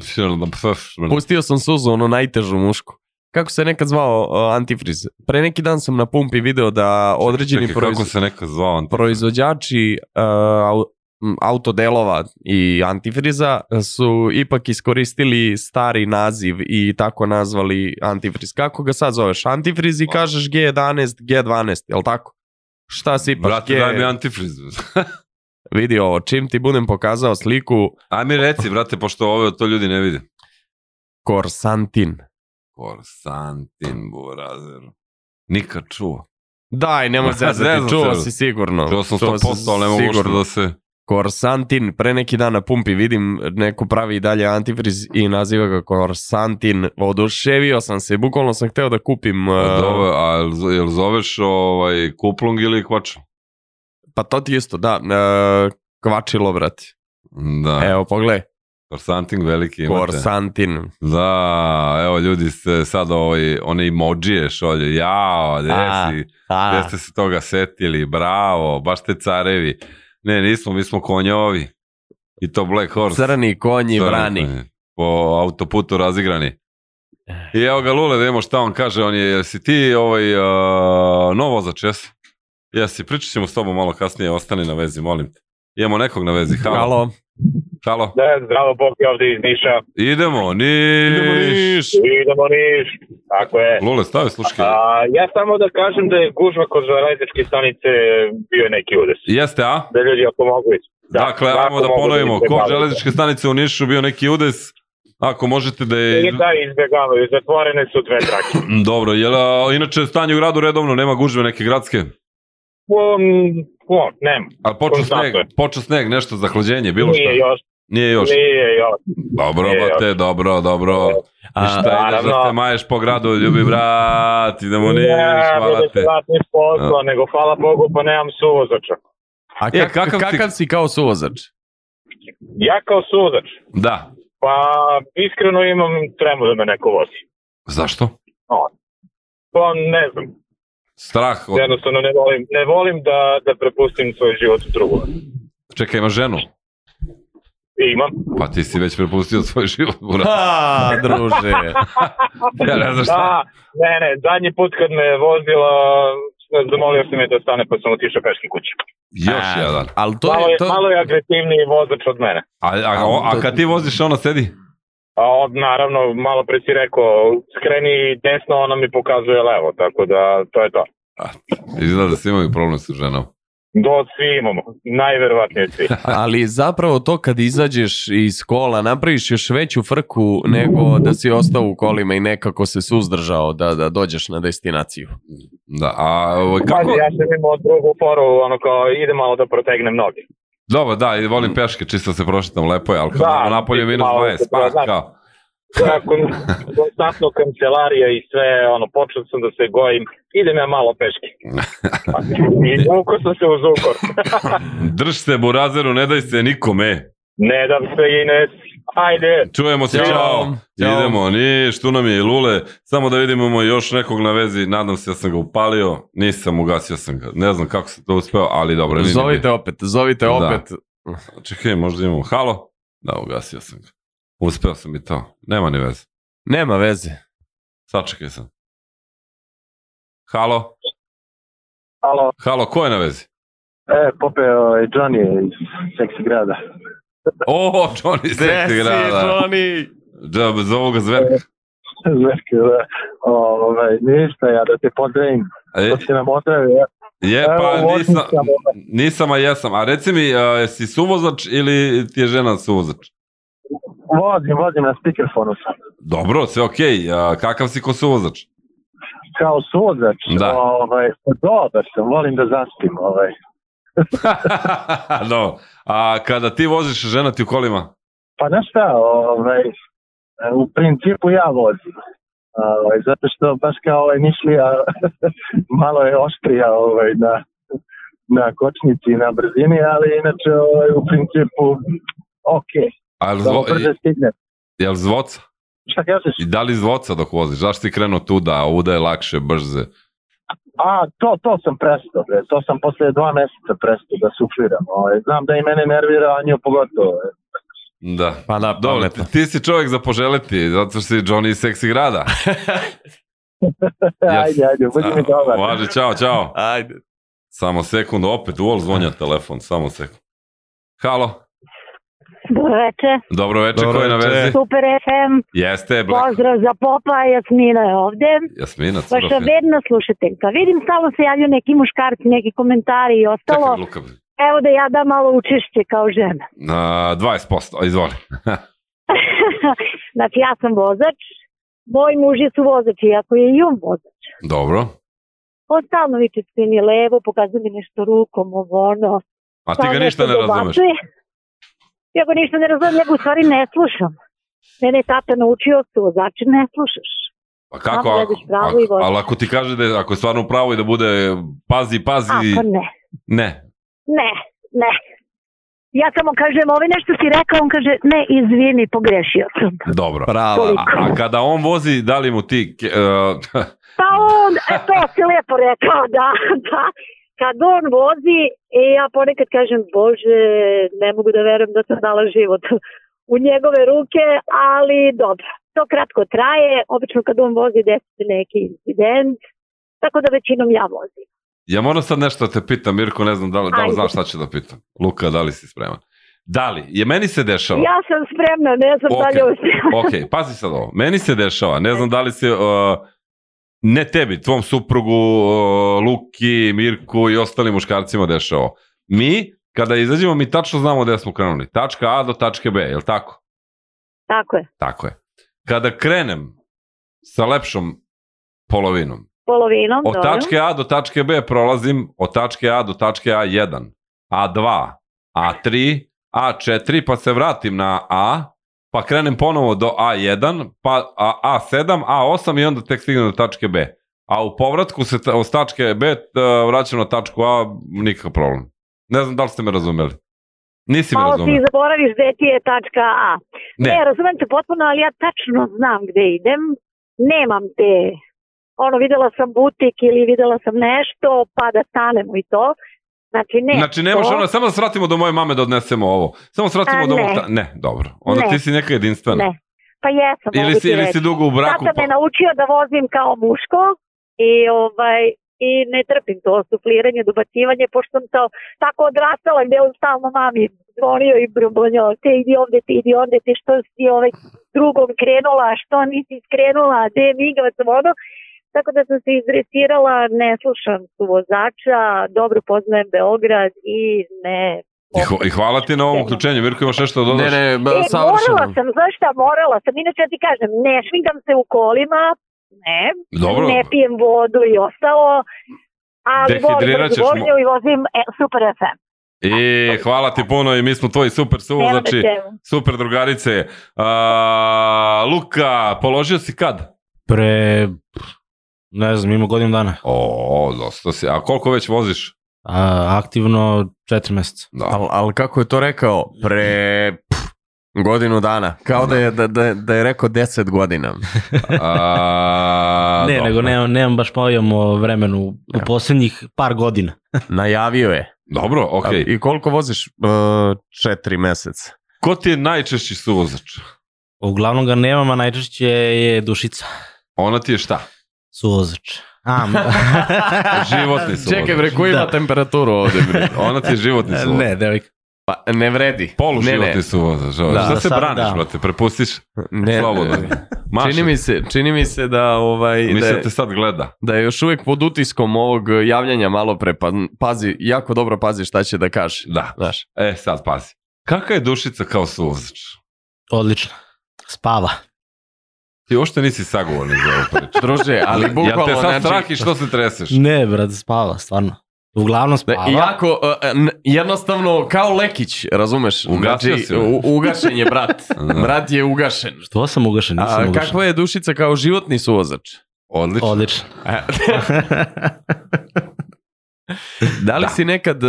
[SPEAKER 7] Pustio sam suzu, ono najtežu mušku. Kako se nekad zvao uh, antifriz? Pre neki dan sam na pumpi video da određeni
[SPEAKER 6] Čekaj, kako
[SPEAKER 7] proiz...
[SPEAKER 6] se neka zvao? Ante?
[SPEAKER 7] proizvođači uh, au- m, autodelova i antifriza su ipak iskoristili stari naziv i tako nazvali antifriz. Kako ga sad zoveš? Antifriz
[SPEAKER 6] Pa.
[SPEAKER 7] i kažeš G11, G12, jel tako? Šta si pa
[SPEAKER 6] Brate, daj mi antifriz.
[SPEAKER 7] Vidi ovo, čim ti budem pokazao sliku,
[SPEAKER 6] Aj mi reci, brate, pošto ove to ljudi ne vide.
[SPEAKER 7] Korsantin.
[SPEAKER 6] Korsantin, burazer. Nikad čuo.
[SPEAKER 7] Daj, nemoj
[SPEAKER 6] Ne znam
[SPEAKER 7] zezati, čuo
[SPEAKER 6] se.
[SPEAKER 7] si sigurno.
[SPEAKER 6] Čuo sam
[SPEAKER 7] Čuo si
[SPEAKER 6] 100%, ali ne mogu uopšte
[SPEAKER 7] sigurno.
[SPEAKER 6] da se...
[SPEAKER 7] Korsantin, pre neki dan na pumpi vidim neko pravi i dalje antifriz i naziva ga Korsantin. Oduševio sam se, bukvalno sam hteo da kupim.
[SPEAKER 6] A,
[SPEAKER 7] e,
[SPEAKER 6] dove, a jel, Pa z- jel zoveš ovaj, kuplung ili kvačo?
[SPEAKER 7] Pa to ti isto, da. e, kvačilo, brate.
[SPEAKER 6] Da,
[SPEAKER 7] Evo, pogledaj.
[SPEAKER 6] korsanting veliki imate.
[SPEAKER 7] Korsantin.
[SPEAKER 6] Da, evo ljudi ste sad ovaj, one emojije šolje, jao, gde
[SPEAKER 7] A,
[SPEAKER 6] si,
[SPEAKER 7] A,
[SPEAKER 6] gde ste se toga setili, bravo, baš ste carevi. Ne, nismo, mi smo konjovi. I to Black Horse.
[SPEAKER 7] crni konji
[SPEAKER 6] Crni
[SPEAKER 7] brani.
[SPEAKER 6] konji. Po autoputu razigrani. I evo ga Lule, da vidimo šta on kaže, on je, jesi ti ovaj, uh, novo za čes? Jesi, pričat ćemo s tobom malo kasnije, ostani na vezi, molim te. Imamo nekog na vezi, halo. Halo.
[SPEAKER 7] Halo.
[SPEAKER 8] Da, zdravo, Bog je ovde iz Niša.
[SPEAKER 6] Idemo, niš.
[SPEAKER 8] Idemo Niš. Tako je.
[SPEAKER 6] Lule, stavi sluške.
[SPEAKER 8] A, ja samo da kažem da je gužva kod železničke stanice bio neki udes.
[SPEAKER 6] Jeste, a?
[SPEAKER 8] Da ljudi ako mogu ići.
[SPEAKER 6] dakle, ajmo da ponovimo. Ko železničke stanice u Nišu bio neki udes, ako možete da je...
[SPEAKER 8] Da, izbjegavaju. Zatvorene su dve trake.
[SPEAKER 6] Dobro, jel, a, inače stanje u gradu redovno, nema gužve neke gradske?
[SPEAKER 8] Um, um, nema.
[SPEAKER 6] A počeo
[SPEAKER 8] Konstantno
[SPEAKER 6] sneg, počeo sneg, nešto za hlađenje, bilo šta?
[SPEAKER 8] Nije još.
[SPEAKER 6] Nije još.
[SPEAKER 8] Nije još.
[SPEAKER 6] Dobro,
[SPEAKER 8] Nije
[SPEAKER 6] brate, dobro, dobro. I
[SPEAKER 7] A,
[SPEAKER 6] šta ideš
[SPEAKER 8] naravno.
[SPEAKER 6] da se maješ po gradu, ljubi brat, idemo niš,
[SPEAKER 8] Ne,
[SPEAKER 6] hvala
[SPEAKER 8] bude
[SPEAKER 6] te.
[SPEAKER 8] slatni posla, nego hvala Bogu pa nemam suvozača.
[SPEAKER 7] a
[SPEAKER 6] E,
[SPEAKER 7] kak-
[SPEAKER 6] kakav
[SPEAKER 7] kakav,
[SPEAKER 6] ti-
[SPEAKER 7] si kao suvozač?
[SPEAKER 8] Ja kao suvozač,
[SPEAKER 6] Da.
[SPEAKER 8] pa iskreno imam tremu da me neko vozi.
[SPEAKER 6] Zašto?
[SPEAKER 8] Pa ne znam,
[SPEAKER 6] Strah od...
[SPEAKER 8] jednostavno ne volim, ne volim da, da prepustim svoj život drugome.
[SPEAKER 6] Čekaj, imaš ženu?
[SPEAKER 8] I imam.
[SPEAKER 6] Pa ti si već prepustio svoj život, bura.
[SPEAKER 7] Ha, druže.
[SPEAKER 6] Ja ne znam šta.
[SPEAKER 8] Da, ne, ne, zadnji put kad me je vozila, zamolio sam je da stane pa sam otišao peški kući.
[SPEAKER 6] Još
[SPEAKER 7] A,
[SPEAKER 6] jedan.
[SPEAKER 7] Ali to
[SPEAKER 8] malo,
[SPEAKER 7] je...
[SPEAKER 8] je,
[SPEAKER 7] To...
[SPEAKER 8] malo je agresivniji vozač od mene.
[SPEAKER 6] A, a, a, a kad ti voziš, ona sedi?
[SPEAKER 8] A on, naravno, malo pre si rekao, skreni desno, ona mi pokazuje levo, tako da to je to.
[SPEAKER 6] Izgleda da svi imaju problem sa ženom.
[SPEAKER 8] Do svi imamo, najverovatnije svi.
[SPEAKER 7] Ali zapravo to kad izađeš iz kola napraviš još veću frku nego da si ostao u kolima i nekako se suzdržao da, da dođeš na destinaciju.
[SPEAKER 6] Da, a ovaj, kako?
[SPEAKER 8] Pazi, ja sam imao drugu foru, ono kao, ide malo da protegnem noge.
[SPEAKER 6] Dobro, da, i volim peške, čisto se prošetam, lepo je, ali kad
[SPEAKER 8] Da,
[SPEAKER 6] da, napolje je minus
[SPEAKER 8] malo
[SPEAKER 6] 20,
[SPEAKER 8] se
[SPEAKER 6] pa
[SPEAKER 8] pronađe.
[SPEAKER 6] kao.
[SPEAKER 8] nakon konstantno kancelarija i sve, ono, počeo sam da se gojim, idem ja malo peške. I uko sam se uz ukor.
[SPEAKER 6] Drž se, burazeru, ne daj se nikome.
[SPEAKER 8] Ne dam se, Ines, ajde.
[SPEAKER 6] Čujemo se,
[SPEAKER 7] Ćao.
[SPEAKER 6] čao.
[SPEAKER 7] Ćao.
[SPEAKER 6] Idemo, niš, tu nam je i Lule. Samo da vidimo imamo još nekog na vezi, nadam se da sam ga upalio. Nisam, ugasio sam ga. Ne znam kako sam to uspeo, ali dobro. nije ni
[SPEAKER 7] Zovite opet, zovite
[SPEAKER 6] Da.
[SPEAKER 7] opet.
[SPEAKER 6] bitno. Čekaj, možda imamo halo? Da, ugasio sam ga. Uspeo sam i to. Nema ni veze.
[SPEAKER 7] Nema veze.
[SPEAKER 6] Sačekaj sam. Halo?
[SPEAKER 9] Halo,
[SPEAKER 6] Halo, ko je na vezi?
[SPEAKER 9] e, Pope, ovaj, Johnny je iz Seksi grada.
[SPEAKER 6] O, Johnny Sexy grada.
[SPEAKER 7] Johnny?
[SPEAKER 6] Da, zovu ga zverka.
[SPEAKER 9] Zverke, Znači, da. Ovaj, ništa, ja da te pozdravim.
[SPEAKER 6] E,
[SPEAKER 9] Da se nam odravi. Ja.
[SPEAKER 6] je,
[SPEAKER 9] Evo,
[SPEAKER 6] pa
[SPEAKER 9] vozim
[SPEAKER 6] nisam,
[SPEAKER 9] sam, ovaj.
[SPEAKER 6] nisam, a jesam. A reci mi, a, jesi suvozač ili ti je žena suvozač?
[SPEAKER 9] Vozim, vozim na speakerfonu sam.
[SPEAKER 6] Dobro, sve okej. A, Kakav si ko suvozač?
[SPEAKER 9] Kao suvozač,
[SPEAKER 6] Da.
[SPEAKER 9] ovaj, pa dobar sam, volim da zaspim. Ovaj.
[SPEAKER 6] Dobro. A kada ti voziš, žena ti u kolima?
[SPEAKER 9] Pa na šta, ovaj, u principu ja vozim. Ovaj, zato što baš kao ovaj mišlija malo je oštrija ovaj, na, na kočnici i na brzini, ali inače ovaj, u principu ok,
[SPEAKER 6] A jel,
[SPEAKER 9] samo
[SPEAKER 6] zvo,
[SPEAKER 9] brže stigne.
[SPEAKER 6] jel zvoca?
[SPEAKER 9] Šta kažeš?
[SPEAKER 6] I da li zvoca dok voziš? Zašto ti krenuo tu da ovuda je lakše, brze?
[SPEAKER 9] A, to, to sam prestao, bre. to sam posle dva meseca prestao da sufliram. Ovaj, znam da i mene nervira, a nju pogotovo. ovaj.
[SPEAKER 6] Da.
[SPEAKER 7] Pa da,
[SPEAKER 6] Dobro, ti,
[SPEAKER 7] pametno.
[SPEAKER 6] ti si čovjek za poželeti, zato što si Johnny iz Seksi Grada. Jes.
[SPEAKER 9] E, Ajde, ajde, budi mi dobar.
[SPEAKER 6] Važi, čao, čao.
[SPEAKER 7] Ajde.
[SPEAKER 6] Samo sekund, opet uvol zvonja telefon, samo sekund. Halo,
[SPEAKER 10] Dobro večer,
[SPEAKER 6] dobro večer,
[SPEAKER 7] Dobro
[SPEAKER 6] ko je na
[SPEAKER 7] veče.
[SPEAKER 6] vezi?
[SPEAKER 10] Super FM,
[SPEAKER 6] Jeste, Black,
[SPEAKER 10] pozdrav za popa, Jasmina je ovde.
[SPEAKER 6] Jasmina,
[SPEAKER 10] Baš
[SPEAKER 6] cura fina.
[SPEAKER 10] verna slušateljka. Vidim stalno se javljaju neki muškarci, neki komentari i ostalo.
[SPEAKER 6] Čekaj, Luka,
[SPEAKER 10] Evo da ja dam malo učešće kao žena.
[SPEAKER 6] na 20%, izvoli.
[SPEAKER 10] znači ja sam vozač, moj muž je su vozač, iako je i on vozač.
[SPEAKER 6] Dobro.
[SPEAKER 10] On stalno viče spini levo, pokazuje mi nešto rukom, ovo ono.
[SPEAKER 6] A ti
[SPEAKER 10] stalno
[SPEAKER 6] ga ništa
[SPEAKER 10] nešto
[SPEAKER 6] ne razumeš.
[SPEAKER 10] dobacuje. Ja ga ništa ne razumem, ja ga u stvari ne slušam. Mene je tata naučio su vozači ne slušaš.
[SPEAKER 6] Pa kako,
[SPEAKER 10] Samo
[SPEAKER 6] ako,
[SPEAKER 10] gledaš pravo
[SPEAKER 6] ako,
[SPEAKER 10] i voziš.
[SPEAKER 6] ali ako ti kaže da je, ako je stvarno u pravu i da bude pazi, pazi,
[SPEAKER 10] Ako ne.
[SPEAKER 6] ne.
[SPEAKER 10] Ne, ne. Ja samo kažem, ovo nešto si rekao, on kaže, ne, izvini, pogrešio sam.
[SPEAKER 6] Dobro.
[SPEAKER 7] Prava.
[SPEAKER 6] A, a kada on vozi, da li mu ti... ke- e,
[SPEAKER 10] Pa on, e, to si lepo rekao, da, da. Kad on vozi, e, ja ponekad kažem, bože, ne mogu da verujem da sam dala život u njegove ruke, ali dobro. To kratko traje, obično kad on vozi desi se neki incident, tako da većinom ja vozim.
[SPEAKER 6] Ja moram sad nešto da te pitam, Mirko, ne znam da li, da li
[SPEAKER 10] Ajde.
[SPEAKER 6] znaš šta ću da pitam. Luka, da li si spreman? Da li? Je meni se dešava.
[SPEAKER 10] Ja sam spremna, ne znam da li
[SPEAKER 6] Ok.
[SPEAKER 10] ovo spremna.
[SPEAKER 6] Ok, pazi sad ovo. Meni se dešava, ne znam da li se... uh, ne tebi, tvom suprugu, uh, Luki, Mirku i ostalim muškarcima dešava. Mi, kada izađemo, mi tačno znamo gde smo krenuli. Tačka A do tačke B, je li tako?
[SPEAKER 10] Tako je,
[SPEAKER 6] Tako je. Kada krenem sa lepšom polovinom,
[SPEAKER 10] polovinom.
[SPEAKER 6] Od
[SPEAKER 10] dobro.
[SPEAKER 6] tačke A do tačke B prolazim od tačke A do tačke A1, A2, A3, A4, pa se vratim na A, pa krenem ponovo do A1, pa A- A7, A8 i onda tek stignem do tačke B. A u povratku se ta- od tačke B e, vraćam na tačku A, nikakav problem. Ne znam da li ste me razumeli. Nisi me
[SPEAKER 10] Malo ti
[SPEAKER 6] razumeli.
[SPEAKER 10] zaboraviš gde ti je tačka A. Ne,
[SPEAKER 6] Ne,
[SPEAKER 10] razumem te potpuno, ali ja tačno znam gde idem. Nemam te, ono, videla sam butik ili videla sam nešto, pa da stanemo i to. Znači, ne.
[SPEAKER 6] znači nemaš
[SPEAKER 10] to,
[SPEAKER 6] ono, samo da svratimo do moje mame da odnesemo ovo. Samo svratimo
[SPEAKER 10] A,
[SPEAKER 6] do ovog...
[SPEAKER 10] ne.
[SPEAKER 6] ta- Ne, dobro. Onda
[SPEAKER 10] Ne.
[SPEAKER 6] ti si neka jedinstvena.
[SPEAKER 10] Ne. Pa jesam,
[SPEAKER 6] Ili
[SPEAKER 10] mogu
[SPEAKER 6] si,
[SPEAKER 10] ti
[SPEAKER 6] ili
[SPEAKER 10] reći.
[SPEAKER 6] si dugo u braku. pa-
[SPEAKER 10] Tata me naučio da vozim kao muško i ovaj i ne trpim to sufliranje, dobacivanje, pošto sam to tako odrastala gde on stalno mami zvonio i brumbonio, te idi ovde, ti idi ovde, ti što si ovaj drugom krenula, što nisi skrenula, gde je migavac, ono. Tako da sam se izresirala, ne slušam su vozača, dobro poznajem Beograd i ne...
[SPEAKER 6] I, hva- I hvala ti na ovom uključenju. Mirko, imaš nešto da dodaš?
[SPEAKER 7] Ne, ne, ba,
[SPEAKER 10] E, morala
[SPEAKER 7] savršeno.
[SPEAKER 10] sam, znaš šta, morala sam, inače ja ti kažem, ne šminkam se u kolima, ne,
[SPEAKER 6] Dobro.
[SPEAKER 10] ne pijem vodu i ostalo, ali volim
[SPEAKER 6] Dehidrirat ćeš
[SPEAKER 10] brzu vožnju i vozim e, Super FM.
[SPEAKER 6] I hvala ti puno i mi smo tvoji super
[SPEAKER 10] Nema da
[SPEAKER 6] suvozači,
[SPEAKER 10] ćemo.
[SPEAKER 6] super drugarice. A, Luka, položio si kad?
[SPEAKER 11] Pre, pff, ne znam, ima godinu dana.
[SPEAKER 6] O, dosta si. A koliko već voziš?
[SPEAKER 11] A, aktivno četiri meseca.
[SPEAKER 6] Da.
[SPEAKER 7] Al, al kako je to rekao? Pre pff, godinu dana. Kao da je, da, da, da je rekao 10 godina.
[SPEAKER 6] A,
[SPEAKER 11] ne,
[SPEAKER 6] dobro.
[SPEAKER 11] nego nemam, nemam baš pojamo vremenu u
[SPEAKER 7] Ja.
[SPEAKER 11] poslednjih par godina.
[SPEAKER 7] Najavio je.
[SPEAKER 6] Dobro, ok.
[SPEAKER 7] A- I koliko voziš? E, četiri meseca.
[SPEAKER 6] Ko ti je najčešći suvozač?
[SPEAKER 11] Uglavnom ga nemam, a najčešće je dušica.
[SPEAKER 6] Ona ti je šta?
[SPEAKER 11] Suvozač. A,
[SPEAKER 6] Životni suvozač.
[SPEAKER 7] Čekaj bre, koji ima
[SPEAKER 11] Da.
[SPEAKER 7] temperaturu ovde bre?
[SPEAKER 6] Ona ti je životni suvozač.
[SPEAKER 11] ne, devojka.
[SPEAKER 7] Pa, ne vredi.
[SPEAKER 6] Poluživotni
[SPEAKER 7] Ne, ne.
[SPEAKER 6] suvozač. Da,
[SPEAKER 7] Da,
[SPEAKER 6] šta
[SPEAKER 11] da,
[SPEAKER 6] se
[SPEAKER 11] sad
[SPEAKER 6] braniš,
[SPEAKER 11] da.
[SPEAKER 6] brate? Prepustiš?
[SPEAKER 7] Ne,
[SPEAKER 6] Slobodno.
[SPEAKER 7] ne.
[SPEAKER 6] Maši.
[SPEAKER 7] Čini mi se, čini mi se da ovaj da,
[SPEAKER 6] Mislim
[SPEAKER 7] je-
[SPEAKER 6] da te sad gleda.
[SPEAKER 7] da je još uvek pod utiskom ovog javljanja malo pre, pa pazi, jako dobro pazi šta će da kaže.
[SPEAKER 6] Da.
[SPEAKER 7] Znaš,
[SPEAKER 6] E, sad pazi. Kaka je dušica kao suvozač?
[SPEAKER 11] Odlično. Spava.
[SPEAKER 6] Ti uopšte nisi sagovornik za ovu priču.
[SPEAKER 7] druže, ali
[SPEAKER 6] Jel
[SPEAKER 7] bukvalno
[SPEAKER 6] te sad
[SPEAKER 7] znači,
[SPEAKER 6] strah i što se treseš?
[SPEAKER 11] Ne, brad, spava, stvarno. Uglavnom spava.
[SPEAKER 7] I jako, e, n- jednostavno, kao Lekić, razumeš? Znači,
[SPEAKER 6] Ugasio si me.
[SPEAKER 7] u- ugašen je brat.
[SPEAKER 6] Da.
[SPEAKER 7] brat je ugašen.
[SPEAKER 11] Što sam ugašen, nisam
[SPEAKER 7] A
[SPEAKER 11] ugašen.
[SPEAKER 7] kakva je dušica kao životni suvozač?
[SPEAKER 6] Odlično.
[SPEAKER 11] Odlično.
[SPEAKER 7] E, da li si nekad, e,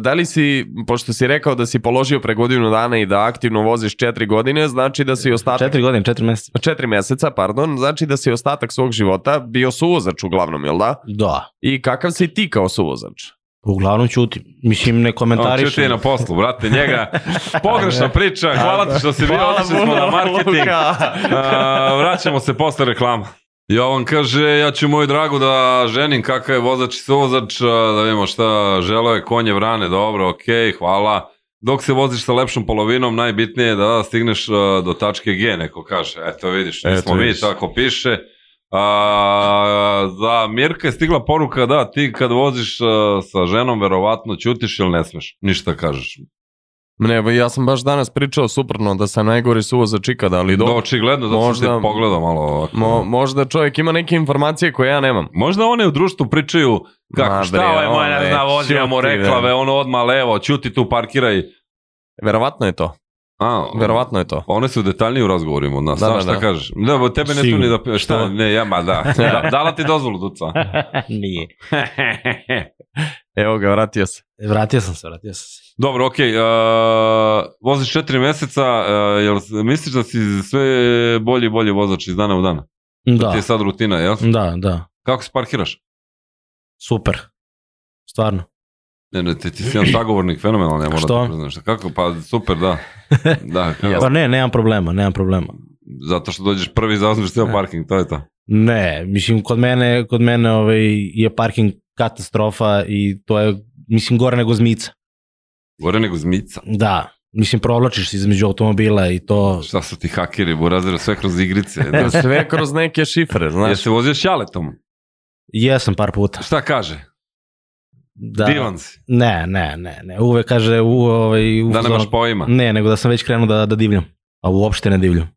[SPEAKER 7] da li si, pošto si rekao da si položio pre godinu dana i da aktivno voziš četiri godine, znači da si ostatak...
[SPEAKER 11] Četiri godine, četiri meseca.
[SPEAKER 7] Četiri meseca, pardon, znači da si ostatak svog života bio suvozač uglavnom, jel da?
[SPEAKER 11] Da.
[SPEAKER 7] I kakav si ti kao suvozač?
[SPEAKER 11] Uglavnom ćutim. Mislim, ne
[SPEAKER 6] On
[SPEAKER 11] komentarišem.
[SPEAKER 6] čuti je na poslu, brate, njega. Pogrešna priča, hvala ti što si bio,
[SPEAKER 7] Hvala
[SPEAKER 6] otišli smo
[SPEAKER 7] puno,
[SPEAKER 6] na marketing.
[SPEAKER 7] Luka.
[SPEAKER 6] A, vraćamo se posle reklama. Jovan kaže, ja ću moju dragu da ženim kakav je vozač i suvozač, a, da vidimo šta želo je, konje vrane, dobro, okej, hvala. Dok se voziš sa lepšom polovinom, najbitnije je da stigneš a, do tačke G, neko kaže. Eto vidiš,
[SPEAKER 7] Eto,
[SPEAKER 6] nismo mi,
[SPEAKER 7] vidiš.
[SPEAKER 6] tako piše. A, za Mirka je stigla poruka, da, ti kad voziš a, sa ženom, verovatno ćutiš ili ne smeš, ništa kažeš.
[SPEAKER 7] Ne, ba, ja sam baš danas pričao suprotno da sam najgori suvozač ikada, ali
[SPEAKER 6] Da,
[SPEAKER 7] do,
[SPEAKER 6] očigledno, zato možda, sam
[SPEAKER 7] možda-
[SPEAKER 6] te pogledao malo ovako.
[SPEAKER 7] mo, možda čovjek ima neke informacije koje ja nemam.
[SPEAKER 6] Možda one u društvu pričaju kako
[SPEAKER 7] Ma
[SPEAKER 6] šta
[SPEAKER 7] bre,
[SPEAKER 6] ovaj moj ne
[SPEAKER 7] ovaj,
[SPEAKER 6] zna vozi, ja mu
[SPEAKER 7] ćuti,
[SPEAKER 6] reklave,
[SPEAKER 7] bre.
[SPEAKER 6] ono odmah levo, ćuti tu, parkiraj.
[SPEAKER 7] Verovatno je to,
[SPEAKER 6] A, pa
[SPEAKER 7] verovatno je to.
[SPEAKER 6] One su detaljnije u razgovorima od nas,
[SPEAKER 7] Da,
[SPEAKER 6] znaš
[SPEAKER 7] da,
[SPEAKER 6] šta
[SPEAKER 7] da.
[SPEAKER 6] kažeš. Da, bo tebe ne tu ni
[SPEAKER 11] Sigurno.
[SPEAKER 6] da pi- šta,
[SPEAKER 7] Šta?
[SPEAKER 6] ne, ja, ma da. da. Dala ti dozvolu, Duca.
[SPEAKER 11] Nije. E,
[SPEAKER 7] Evo ga, vratio se.
[SPEAKER 11] Vratio sam se, vratio sam se.
[SPEAKER 6] Dobro, okej, e, voziš četiri meseca, e, jel s- misliš da si sve bolji i bolji vozač iz dana u dana?
[SPEAKER 11] Da, Mm.
[SPEAKER 6] Ti je sad rutina, jel?
[SPEAKER 11] da, da.
[SPEAKER 6] Kako se parkiraš?
[SPEAKER 11] Super. Stvarno.
[SPEAKER 6] Ne, ne, ti, ti si jedan sagovornik fenomenalno, ne moram
[SPEAKER 11] Što?
[SPEAKER 6] da priznaš. Kako? Pa super, da. Da, kako?
[SPEAKER 11] Pa ne, nemam problema, nemam problema.
[SPEAKER 6] Zato što dođeš prvi i zauzmeš ceo parking, to je to.
[SPEAKER 11] Ne, mislim, kod mene, kod mene ovaj, je parking katastrofa i to je, mislim, gore nego zmica.
[SPEAKER 6] Gore nego zmica.
[SPEAKER 11] Da, mislim, provlačiš se između automobila i to...
[SPEAKER 6] Šta su ti hakeri, burazira, sve kroz igrice. Da.
[SPEAKER 7] Sve kroz neke šifre, znaš.
[SPEAKER 6] Jesi se vozio šaletom?
[SPEAKER 11] Jesam par puta.
[SPEAKER 6] Šta kaže?
[SPEAKER 11] Da.
[SPEAKER 6] Divan si.
[SPEAKER 11] Ne, ne, ne, ne. Uvek kaže... U, ovaj, u
[SPEAKER 6] Da nemaš
[SPEAKER 11] fazonu-
[SPEAKER 6] pojma.
[SPEAKER 12] Mm.
[SPEAKER 11] Ne, nego da sam već krenuo da, da divljam. A uopšte ne divljam.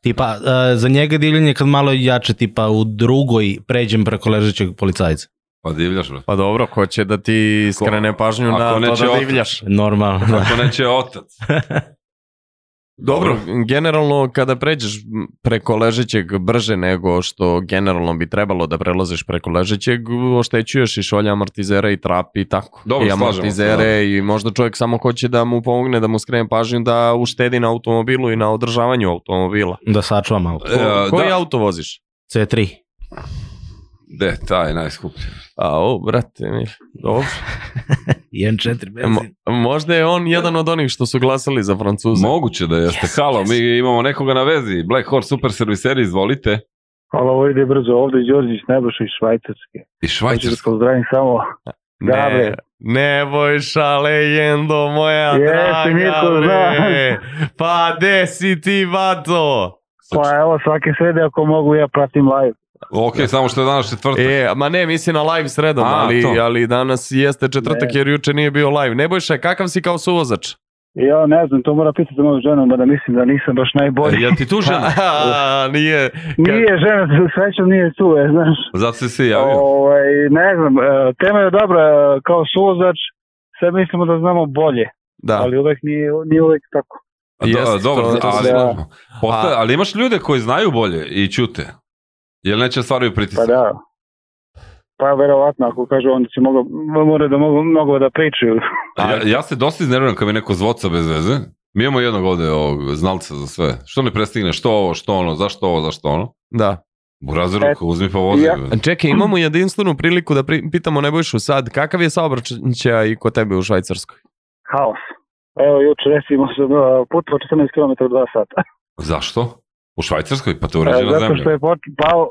[SPEAKER 11] Tipa, e, za njega divljanje je kad malo jače, tipa u drugoj pređem preko ležećeg policajca.
[SPEAKER 6] Pa divljaš, bro.
[SPEAKER 7] Pa dobro, ko će da ti
[SPEAKER 6] Ko-
[SPEAKER 7] skrene pažnju
[SPEAKER 6] ako
[SPEAKER 7] na to
[SPEAKER 6] neće
[SPEAKER 7] da
[SPEAKER 6] otac.
[SPEAKER 7] divljaš?
[SPEAKER 11] Normalno, da.
[SPEAKER 6] Ako neće otac.
[SPEAKER 7] Dobro, generalno kada pređeš preko ležećeg brže nego što generalno bi trebalo da prelaziš preko ležećeg, oštećuješ i šolje amortizere i trap i tako.
[SPEAKER 6] Dobro,
[SPEAKER 7] I
[SPEAKER 6] slažemo se,
[SPEAKER 7] amortizere i možda čovjek samo hoće da mu pomogne, da mu skrene pažnju da uštedi na automobilu i na održavanju automobila.
[SPEAKER 11] Da sačuvam auto.
[SPEAKER 6] E, a,
[SPEAKER 7] Koji
[SPEAKER 6] da.
[SPEAKER 7] auto voziš?
[SPEAKER 11] C3.
[SPEAKER 6] De, taj najskuplji.
[SPEAKER 7] A, o, brate, mi, dobro.
[SPEAKER 11] 1.4
[SPEAKER 7] Mo- možda je on jedan od onih što su glasali za Francuza.
[SPEAKER 6] Moguće da jeste. Halo, mi imamo nekoga na vezi. Black Horse Super Serviseri, izvolite.
[SPEAKER 9] Hvala, ovo ide brzo. Ovde je Đorđić Nebojša iz Švajcarske.
[SPEAKER 6] I
[SPEAKER 9] Hoću da
[SPEAKER 6] Švajcarsko.
[SPEAKER 9] pozdravim samo. Da,
[SPEAKER 7] Ne,
[SPEAKER 9] bre.
[SPEAKER 7] Nebojša, legendo moja
[SPEAKER 9] Jeste,
[SPEAKER 7] draga,
[SPEAKER 9] Mirko,
[SPEAKER 7] bre. Pa, de si ti, vato?
[SPEAKER 9] Pa evo, svake srede ako mogu ja pratim live.
[SPEAKER 6] Ok, samo što je danas četvrtak.
[SPEAKER 7] E, ma ne, misli na live sredom,
[SPEAKER 6] A,
[SPEAKER 7] ali,
[SPEAKER 6] to.
[SPEAKER 7] ali danas jeste četvrtak jer juče nije bio live. Nebojša, kakav si kao suvozač?
[SPEAKER 9] Ja ne znam, to mora pitati moju ženu, mada mislim da nisam baš najbolji.
[SPEAKER 6] Jel ti tu žena?
[SPEAKER 7] A, nije.
[SPEAKER 9] Nije žena, srećom nije tu, je, znaš.
[SPEAKER 6] Zato si se javio.
[SPEAKER 9] Ovaj, ne znam, e, tema je dobra e, kao suvozač, sve mislimo da znamo bolje,
[SPEAKER 7] Da.
[SPEAKER 9] ali uvek nije, nije uvek tako.
[SPEAKER 6] Da,
[SPEAKER 7] jeste,
[SPEAKER 6] Pa dobro,
[SPEAKER 7] to-
[SPEAKER 9] to
[SPEAKER 6] ali,
[SPEAKER 9] se-
[SPEAKER 6] Posta- ali imaš ljude koji znaju bolje i ćute. Jel neće stvaraju pritisak?
[SPEAKER 9] Pa da. Pa verovatno, ako kažu, onda će mogo, mora da mogu mnogo Pa da pričaju.
[SPEAKER 6] A, ja, ja se dosta iznerviram kad mi neko zvoca bez veze. Mi imamo jednog ovde ovog, znalca za sve. Što ne prestigne, što ovo, što ono, zašto ovo, zašto ono.
[SPEAKER 7] Da.
[SPEAKER 6] Burazeru,
[SPEAKER 9] E,
[SPEAKER 6] ko uzmi pa vozi.
[SPEAKER 9] ja-
[SPEAKER 6] bre.
[SPEAKER 7] Čekaj, imamo jedinstvenu priliku da pri- pitamo Nebojšu sad, kakav je saobraćaj i kod tebe u Švajcarskoj?
[SPEAKER 9] Haos. Evo, juče recimo sam e, putovao 14 km 2 sata.
[SPEAKER 6] Zašto? U Švajcarskoj, pa to je
[SPEAKER 9] E,
[SPEAKER 6] uređena
[SPEAKER 9] Zato što
[SPEAKER 6] zemlja.
[SPEAKER 9] je pot- pao,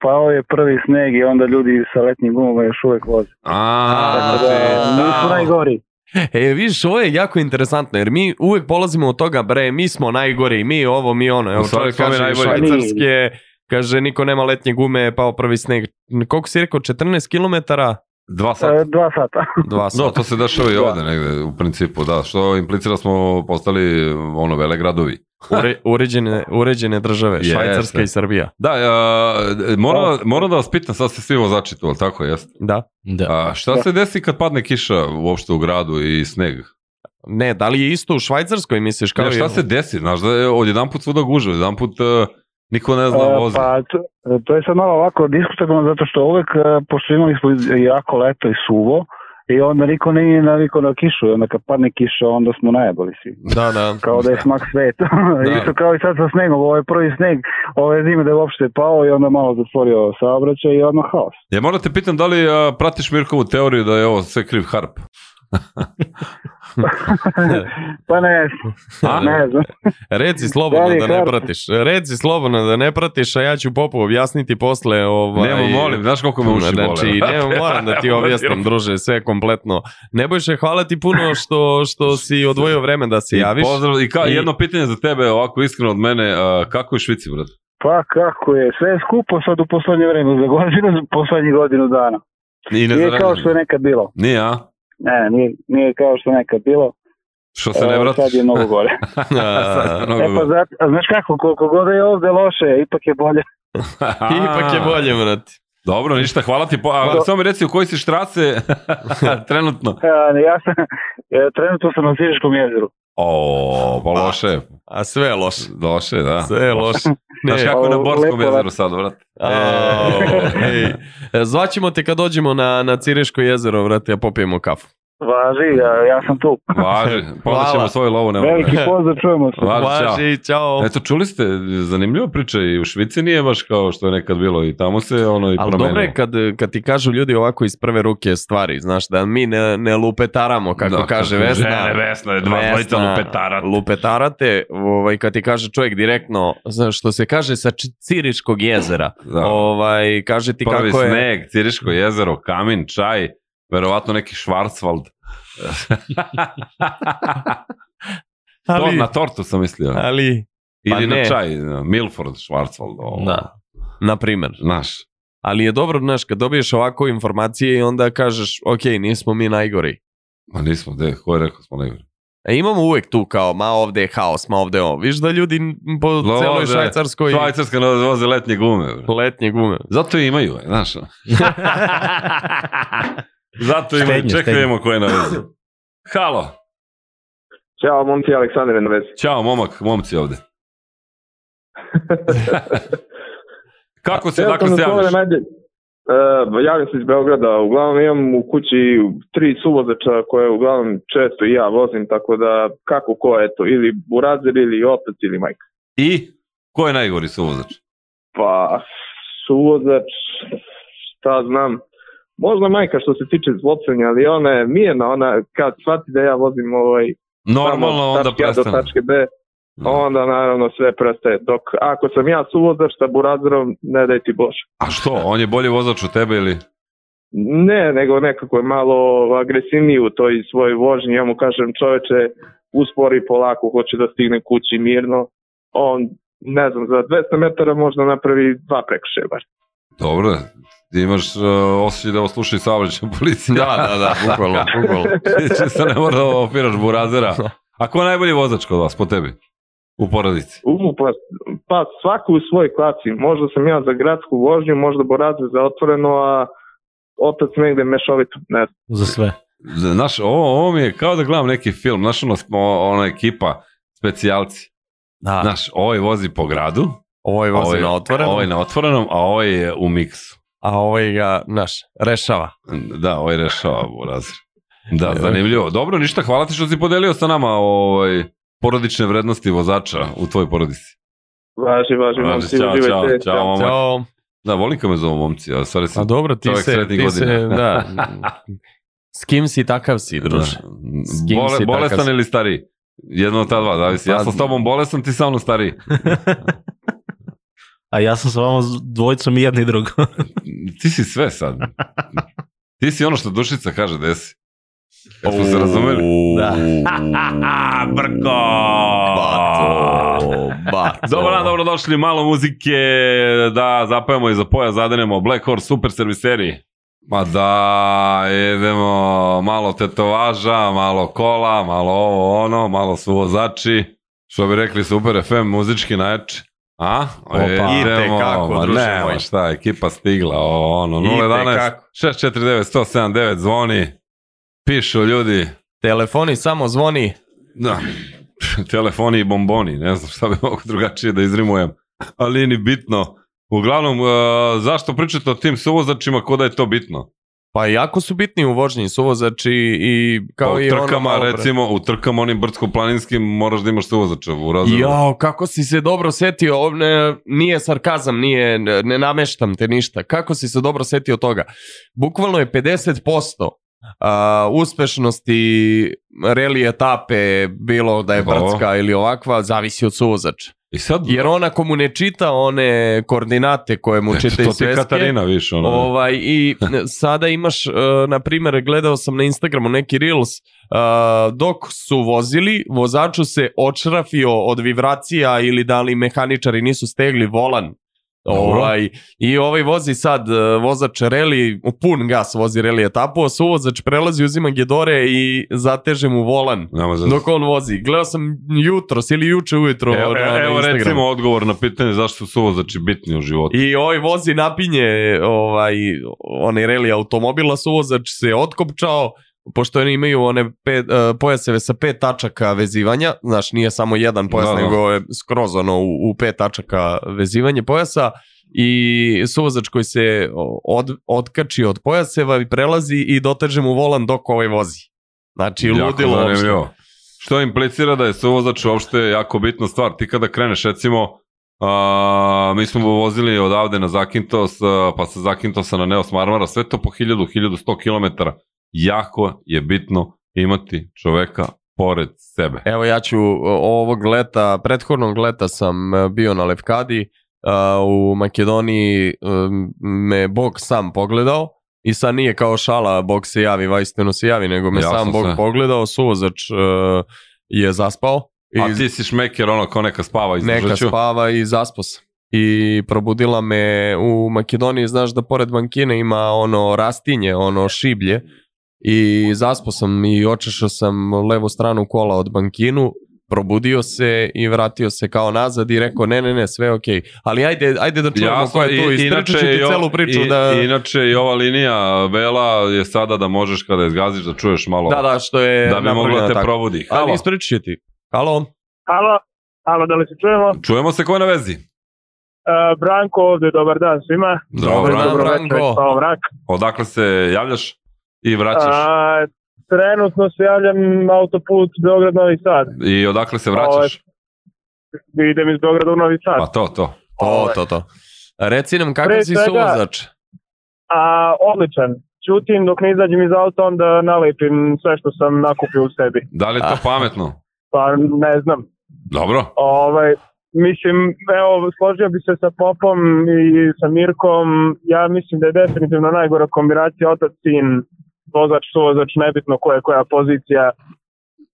[SPEAKER 9] pao je prvi sneg i onda ljudi sa letnim gumama još uvek voze.
[SPEAKER 6] A,
[SPEAKER 7] A,
[SPEAKER 9] Tako da,
[SPEAKER 7] znači,
[SPEAKER 9] nisu
[SPEAKER 7] da.
[SPEAKER 9] najgori.
[SPEAKER 7] E, vidiš, ovo je jako interesantno, jer mi uvek polazimo od toga, bre, mi smo najgori, mi ovo, mi ono.
[SPEAKER 6] U
[SPEAKER 7] Evo,
[SPEAKER 6] stvari
[SPEAKER 7] čovjek
[SPEAKER 6] smo mi
[SPEAKER 7] kaže
[SPEAKER 6] najbolji.
[SPEAKER 7] švajcarske, kaže, niko nema letnje gume, pao prvi sneg. Koliko si rekao, 14 km?
[SPEAKER 6] Dva sata.
[SPEAKER 13] E, dva sata.
[SPEAKER 6] Dva sata. Da, to se dešava i ovde negde, u principu, da. Što implicira smo postali ono vele gradovi.
[SPEAKER 7] Ure, uređene, uređene države,
[SPEAKER 6] Jeste.
[SPEAKER 7] Švajcarska i Srbija.
[SPEAKER 6] Da, a, moram, moram da vas pitam, sad ste svi vozači tu, ali tako jeste?
[SPEAKER 7] Da.
[SPEAKER 11] da.
[SPEAKER 6] A, šta se desi kad padne kiša uopšte u gradu i sneg?
[SPEAKER 7] Ne, da li je isto u Švajcarskoj, misliš? Kao
[SPEAKER 6] ne, šta
[SPEAKER 7] je-
[SPEAKER 6] se desi? Znaš da je od jedan put svuda guže, od jedan put niko ne zna
[SPEAKER 13] E,
[SPEAKER 6] voza.
[SPEAKER 13] Pa, to, to je sad malo ovako diskutabilno zato što uvek, e, pošto imali smo jako leto i suvo, i onda niko nije naviko na kišu, i onda kad padne kiša, onda smo najebali svi.
[SPEAKER 7] Da, da.
[SPEAKER 13] Kao da je smak sveta.
[SPEAKER 7] Da.
[SPEAKER 13] Isto kao i sad sa snegom, ovo je prvi sneg, ove zime da je uopšte pao i onda malo zatvorio saobraćaj i odmah haos.
[SPEAKER 6] Ja moram te pitam da li a, pratiš Mirkovu teoriju da je ovo sve kriv harp?
[SPEAKER 13] Pa ne, ne znam.
[SPEAKER 7] Reci slobodno
[SPEAKER 13] Da li
[SPEAKER 7] da,
[SPEAKER 13] je
[SPEAKER 7] ne
[SPEAKER 13] Harp?
[SPEAKER 7] pratiš. Reci slobodno da ne pratiš, a ja ću Popu objasniti posle. Ovaj,
[SPEAKER 6] Nemo, molim, znaš koliko me uši bole,
[SPEAKER 7] znači,
[SPEAKER 6] brate.
[SPEAKER 7] Nemo, moram da ti
[SPEAKER 6] Nemo,
[SPEAKER 7] objasnim,
[SPEAKER 6] molim.
[SPEAKER 7] druže, sve kompletno. Nebojše, hvala ti puno što, što si odvojio vreme da se javiš.
[SPEAKER 6] I, pozdrav, i, kao, jedno pitanje za tebe, ovako iskreno od mene, a, kako je u Švici, brad?
[SPEAKER 13] Pa kako je, sve je skupo sad u poslednje vreme, za godinu, poslednjih godinu dana.
[SPEAKER 6] I ne
[SPEAKER 13] Nije kao
[SPEAKER 6] zaražen.
[SPEAKER 13] što je nekad bilo.
[SPEAKER 6] Nije, a?
[SPEAKER 13] Ne, nije, nije kao što je nekad bilo.
[SPEAKER 6] Što se ne
[SPEAKER 13] E,
[SPEAKER 6] vratiš?
[SPEAKER 13] Sad je mnogo gore.
[SPEAKER 6] Sad je mnogo
[SPEAKER 13] e pa
[SPEAKER 6] gore.
[SPEAKER 13] zato, a znaš kako, koliko god je ovde loše, ipak je bolje.
[SPEAKER 7] Ipak je bolje, brate.
[SPEAKER 6] Dobro, ništa, hvala ti. Po, a,
[SPEAKER 13] Do-
[SPEAKER 6] samo mi reci u kojoj si štrace trenutno.
[SPEAKER 13] E, ja sam, e, trenutno sam na Siriškom jezeru.
[SPEAKER 6] O, pa loše.
[SPEAKER 7] A sve je loše.
[SPEAKER 6] Loše, da.
[SPEAKER 7] Sve je loše.
[SPEAKER 6] Znaš
[SPEAKER 7] Ne.
[SPEAKER 6] kako je na
[SPEAKER 7] O,
[SPEAKER 6] Borskom
[SPEAKER 7] lepo,
[SPEAKER 6] jezeru sad, brat?
[SPEAKER 7] Au, ej. Zvaćemo te kad dođemo na, na Cireško jezero, brate, a popijemo kafu.
[SPEAKER 13] Važi, ja, ja sam tu.
[SPEAKER 6] Važi,
[SPEAKER 7] Hvala.
[SPEAKER 6] podaćemo svoje lovo. Nema.
[SPEAKER 13] Veliki pozdrav, čujemo se.
[SPEAKER 7] Važi, čao.
[SPEAKER 6] Eto, čuli ste, zanimljiva priča i u Švici nije baš kao što je nekad bilo i tamo se ono i
[SPEAKER 7] Ali
[SPEAKER 6] promenilo.
[SPEAKER 7] dobro je kad, kad ti kažu ljudi ovako iz prve ruke stvari, znaš, da mi ne, ne lupetaramo, kako
[SPEAKER 6] Da,
[SPEAKER 7] kaže
[SPEAKER 6] kako
[SPEAKER 7] Vesna.
[SPEAKER 6] žene, Vesna, dva dvojica lupetarate.
[SPEAKER 7] Lupetarate, ovaj, kad ti kaže čovjek direktno, znaš, što se kaže sa Či- Ciriškog jezera, ovaj, kaže ti
[SPEAKER 6] Prvi
[SPEAKER 7] kako je...
[SPEAKER 6] sneg, Ciriško jezero, kamin, čaj, verovatno neki Schwarzwald.
[SPEAKER 7] Ali-
[SPEAKER 6] to, na tortu sam mislio.
[SPEAKER 7] Ali... pa
[SPEAKER 6] Ili
[SPEAKER 7] ne.
[SPEAKER 6] na čaj, na Milford, Schwarzwald. ono. Ovo.
[SPEAKER 7] Da. Na primer.
[SPEAKER 6] Znaš.
[SPEAKER 7] Ali je dobro, znaš, kad dobiješ ovako informacije i onda kažeš, ok, nismo mi najgori.
[SPEAKER 6] Ma nismo, de, ko je rekao smo najgori?
[SPEAKER 7] E, imamo uvek tu kao, ma ovde je haos, ma ovde je ovo. Viš da ljudi po celoj
[SPEAKER 6] Voze-
[SPEAKER 7] švajcarskoj...
[SPEAKER 6] Švajcarska ne voze letnje gume. bre.
[SPEAKER 7] Letnje gume.
[SPEAKER 6] Zato je imaju, e, znaš. Zato imaju,
[SPEAKER 8] Štednje,
[SPEAKER 6] čekaj
[SPEAKER 8] štednje.
[SPEAKER 6] da vidimo ko je na vezi. Halo.
[SPEAKER 8] Ćao, momci, Aleksandar je na vezi.
[SPEAKER 6] Ćao, momak, momci ovde. Kako se,
[SPEAKER 8] Evo, pa
[SPEAKER 6] dakle
[SPEAKER 8] sam
[SPEAKER 6] se
[SPEAKER 8] nazvao
[SPEAKER 6] javljaš?
[SPEAKER 8] na najbolje. E, javljam se iz Beograda. Uglavnom imam u kući tri suvozača koje uglavnom često i ja vozim, tako da kako ko, eto, ili Burazir, ili otac, ili majka.
[SPEAKER 6] I? Ko je najgori suvozač?
[SPEAKER 8] Pa, suvozač, šta znam, možda majka što se tiče zlopsenja, ali ona je mirna, ona kad shvati da ja vozim ovaj,
[SPEAKER 6] Normalno,
[SPEAKER 8] samo od
[SPEAKER 6] onda
[SPEAKER 8] tačke A do
[SPEAKER 6] prestane.
[SPEAKER 8] tačke B, onda naravno sve prestaje. Dok ako sam ja suvozač sa Burazirom, ne daj ti Bože.
[SPEAKER 6] A što, on je bolji vozač od tebe ili?
[SPEAKER 8] Ne, nego nekako je malo agresivniji u toj svojoj vožnji. Ja mu kažem, čoveče, uspori polako, hoće da stigne kući mirno. On, ne znam, za 200 metara možda napravi dva prekršaja bar.
[SPEAKER 6] Dobro, ti imaš uh, osjećaj da oslušaj saobraćaj policija.
[SPEAKER 7] Pa, Da, da, da, bukvalno, bukvalno.
[SPEAKER 6] Ti se ne mora da opiraš burazera. A ko je najbolji vozač kod vas, po tebi? U porodici.
[SPEAKER 8] Umu, pa, pa svaku u svoj klasi. Možda sam ja za gradsku vožnju, možda boraze za otvoreno, a otac negde mešovito, ne znam.
[SPEAKER 11] Za sve.
[SPEAKER 6] Znaš, ovo, ovo mi je kao da gledam neki film, znaš, ono, smo, ona ekipa, specijalci.
[SPEAKER 7] Da.
[SPEAKER 6] Znaš, ovaj vozi po gradu.
[SPEAKER 7] Ovaj vozi na otvorenom.
[SPEAKER 6] Ovaj na otvorenom, a ovaj je u miksu.
[SPEAKER 7] A ovaj ga, znaš, rešava.
[SPEAKER 6] Da, ovaj rešava burazir. Da, zanimljivo. Dobro, ništa, hvala ti što si podelio sa nama ovaj, porodične vrednosti vozača u tvojoj porodici.
[SPEAKER 8] Važi, važi,
[SPEAKER 6] Važi,
[SPEAKER 8] momci,
[SPEAKER 6] čao,
[SPEAKER 8] uživajte.
[SPEAKER 6] čao, čao, momak. Da, volim kad me zovu momci, a stvari sam
[SPEAKER 7] A dobro, ti
[SPEAKER 6] čovjek
[SPEAKER 7] se,
[SPEAKER 6] srednjih
[SPEAKER 7] ti
[SPEAKER 6] godina.
[SPEAKER 7] se, da. S kim si, takav si, druže. S Pa- kim
[SPEAKER 6] Bole,
[SPEAKER 7] si, takav
[SPEAKER 6] bolestan
[SPEAKER 7] si.
[SPEAKER 6] ili stariji? Jedno od ta dva, zavisi. Ja sam s tobom bolestan, ti sa mnom stariji.
[SPEAKER 11] A ja sam sa vama s dvojicom i jedno i drugo.
[SPEAKER 6] Ti si sve sad. Ti si ono što Dušica kaže, desi. Jesmo se razumeli?
[SPEAKER 11] Da.
[SPEAKER 6] Brko! Bato,
[SPEAKER 7] bato.
[SPEAKER 6] Dobar dan, dobrodošli, malo muzike, da zapajemo i za poja zadenemo Black Horse Super Serviseri. Ma da, idemo, malo tetovaža, malo kola, malo ovo ono, malo su vozači, što bi rekli Super FM, muzički najjače. A?
[SPEAKER 14] Opa. Itekako,
[SPEAKER 6] ma
[SPEAKER 14] druže
[SPEAKER 6] nema,
[SPEAKER 14] moj.
[SPEAKER 6] šta, ekipa stigla, ovo ono, 011
[SPEAKER 7] Itekako.
[SPEAKER 6] 649 179 zvoni, pišu ljudi.
[SPEAKER 7] Telefoni samo zvoni.
[SPEAKER 6] Da, telefoni i bomboni, ne znam šta bi mogu drugačije da izrimujem, ali nije ni bitno. Uglavnom, e, zašto pričate o tim suvozačima, ko da je to bitno?
[SPEAKER 7] Pa jako su bitni u vožnji suvozači i kao
[SPEAKER 6] Pa u
[SPEAKER 7] i ono
[SPEAKER 6] trkama,
[SPEAKER 7] malo pre.
[SPEAKER 6] recimo, u trkama onim brdsko-planinskim moraš da imaš suvozača u razredu.
[SPEAKER 7] Jao, kako si se dobro setio, ovo ne, nije sarkazam, nije, ne ne nameštam te ništa. Kako si se dobro setio toga? Bukvalno je 50% a, uspešnosti reli etape, bilo da je
[SPEAKER 6] Dobro.
[SPEAKER 7] brdska ili ovakva, zavisi od suvozača.
[SPEAKER 6] I sad,
[SPEAKER 7] Jer on ako mu ne čita one koordinate koje mu
[SPEAKER 6] Eto,
[SPEAKER 7] čita
[SPEAKER 6] E, to
[SPEAKER 7] iz
[SPEAKER 6] ti
[SPEAKER 7] sveske,
[SPEAKER 6] Katarina više, ono.
[SPEAKER 7] Ovaj, I sada imaš, e, na primjer, gledao sam na Instagramu neki reels, e, dok su vozili, vozaču se očrafio od vibracija ili da li mehaničari nisu stegli volan.
[SPEAKER 6] Dobro.
[SPEAKER 7] Ovaj, I ovaj vozi sad, e, vozač reli, u pun gas vozi reli etapu, a suvozač prelazi, uzima gedore i zateže mu volan
[SPEAKER 6] za-
[SPEAKER 7] dok on vozi. Gledao sam jutros ili juče ujutro
[SPEAKER 6] Evo,
[SPEAKER 7] na-
[SPEAKER 6] evo,
[SPEAKER 7] na
[SPEAKER 6] evo
[SPEAKER 7] Instagramu.
[SPEAKER 6] recimo odgovor na pitanje zašto su suvozači bitni u životu.
[SPEAKER 7] I ovaj vozi napinje ovaj, onaj reli automobila, suvozač se otkopčao, pošto oni imaju one pet, e, pojaseve sa pet tačaka vezivanja, znaš nije samo jedan pojas,
[SPEAKER 6] Da, da.
[SPEAKER 7] nego je skroz ono u, u pet tačaka vezivanje pojasa i suvozač koji se od, otkači od pojaseva i prelazi i doteže mu volan dok ovaj vozi. Znači
[SPEAKER 6] Jako
[SPEAKER 7] ludilo
[SPEAKER 6] zanimljivo.
[SPEAKER 7] uopšte.
[SPEAKER 6] Što implicira da je suvozač uopšte jako bitna stvar. Ti kada kreneš, recimo, a, mi smo vozili odavde na Zakintos, a, pa sa Zakintosa na Neos Marmara, sve to po 1000-1100 km. Jako je bitno imati čoveka pored sebe.
[SPEAKER 7] Evo ja ću o- ovog leta, prethodnog leta sam e, bio na Levkadi, a, u Makedoniji e, me Bog sam pogledao i sad nije kao šala Bog se javi, vajstveno se javi, nego me
[SPEAKER 6] Jasno
[SPEAKER 7] sam Bog
[SPEAKER 6] sve.
[SPEAKER 7] pogledao, suvozač e, je zaspao.
[SPEAKER 6] A ti si šmeker, ono, kao neka spava iz
[SPEAKER 7] E, Neka spava i zaspo sam. I probudila me u Makedoniji, znaš da pored bankine ima ono rastinje, ono šiblje. I zaspo sam i očešao sam levu stranu kola od bankinu, probudio se i vratio se kao nazad i rekao ne, ne, ne, sve je okej. Ali ajde, ajde da čujemo ko je tu, ispričat ću ti celu priču. da...
[SPEAKER 6] Inače i ova linija Vela je sada da možeš kada izgaziš da čuješ malo.
[SPEAKER 7] Da, da, što je
[SPEAKER 6] Da bi mogla
[SPEAKER 7] napravljena
[SPEAKER 6] da te
[SPEAKER 7] tako.
[SPEAKER 6] probudi.
[SPEAKER 7] Ali
[SPEAKER 6] Halo.
[SPEAKER 7] ispričat ću ti. Halo.
[SPEAKER 12] Halo, halo, da li se čujemo?
[SPEAKER 6] Čujemo se ko je na vezi?
[SPEAKER 12] E, Branko ovdje, dobar dan svima.
[SPEAKER 6] Dobar dan, Branko.
[SPEAKER 12] Hvala, Branko.
[SPEAKER 6] Odakle se javljaš i vraćaš?
[SPEAKER 12] A, trenutno se javljam autoput Beograd-Novi Sad.
[SPEAKER 6] I odakle se vraćaš?
[SPEAKER 12] Ovaj, idem iz Beograda u Novi Sad.
[SPEAKER 6] Pa to, to.
[SPEAKER 7] To, to, to. Reci nam kako
[SPEAKER 12] Pre
[SPEAKER 7] si
[SPEAKER 12] svega-
[SPEAKER 7] suvozač.
[SPEAKER 12] A, odličan. Ćutim dok ne izađem iz auta, onda nalepim sve što sam nakupio u sebi.
[SPEAKER 6] Da li je to pametno?
[SPEAKER 12] Pa ne znam.
[SPEAKER 6] Dobro.
[SPEAKER 12] Ovaj, mislim, evo, složio bi se sa Popom i sa Mirkom. Ja mislim da je definitivno najgora kombinacija otac, sin, vozač, suvozač, nebitno koja je koja pozicija.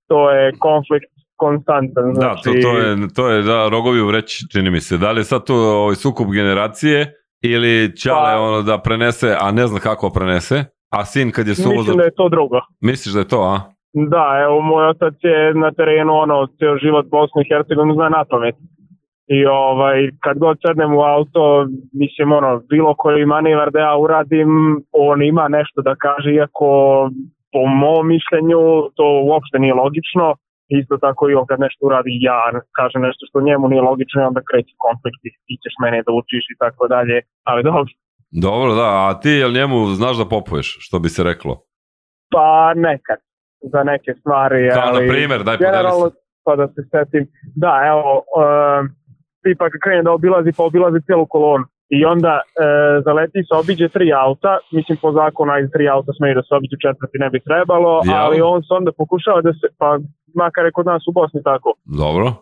[SPEAKER 12] To je konflikt konstantan.
[SPEAKER 6] Da,
[SPEAKER 12] Znači,
[SPEAKER 6] to, to je, to je da, rogovi u vreći, čini mi se. Da li je sad tu ovaj, sukup generacije ili Ćale
[SPEAKER 12] Pa-
[SPEAKER 6] ono da prenese, a ne zna kako prenese, a sin kad je suvozač...
[SPEAKER 12] Mislim da je to drugo.
[SPEAKER 6] Misliš da je to, a?
[SPEAKER 12] Da, evo, moj otac je na terenu, ono, ceo život Bosnu i Hercegovinu zna na pamet. I ovaj, kad god sednem u auto, mislim, ono, bilo koji manevar da ja uradim, on ima nešto da kaže, iako po mom mišljenju to uopšte nije logično. Isto tako i on kad nešto uradi ja, kaže nešto što njemu nije logično i onda kreće konflikt i ti ćeš mene da učiš i tako dalje. Ali dobro,
[SPEAKER 6] Dobro, da, a ti jel njemu znaš da popuješ, što bi se reklo?
[SPEAKER 12] Pa nekad, za neke stvari.
[SPEAKER 6] Kao
[SPEAKER 12] ali
[SPEAKER 6] na primer, daj podeli
[SPEAKER 12] generalno, Pa da se setim. Da, evo, e, tipa kad krene da obilazi, pa obilazi cijelu kolonu. I onda e, zaleti se, obiđe tri auta, mislim po zakonu ajde tri auta smeju da se obiđu četvrti, ne bi trebalo,
[SPEAKER 6] Jao.
[SPEAKER 12] ali on se onda pokušava da se, pa makar je kod nas u Bosni tako,
[SPEAKER 6] Dobro.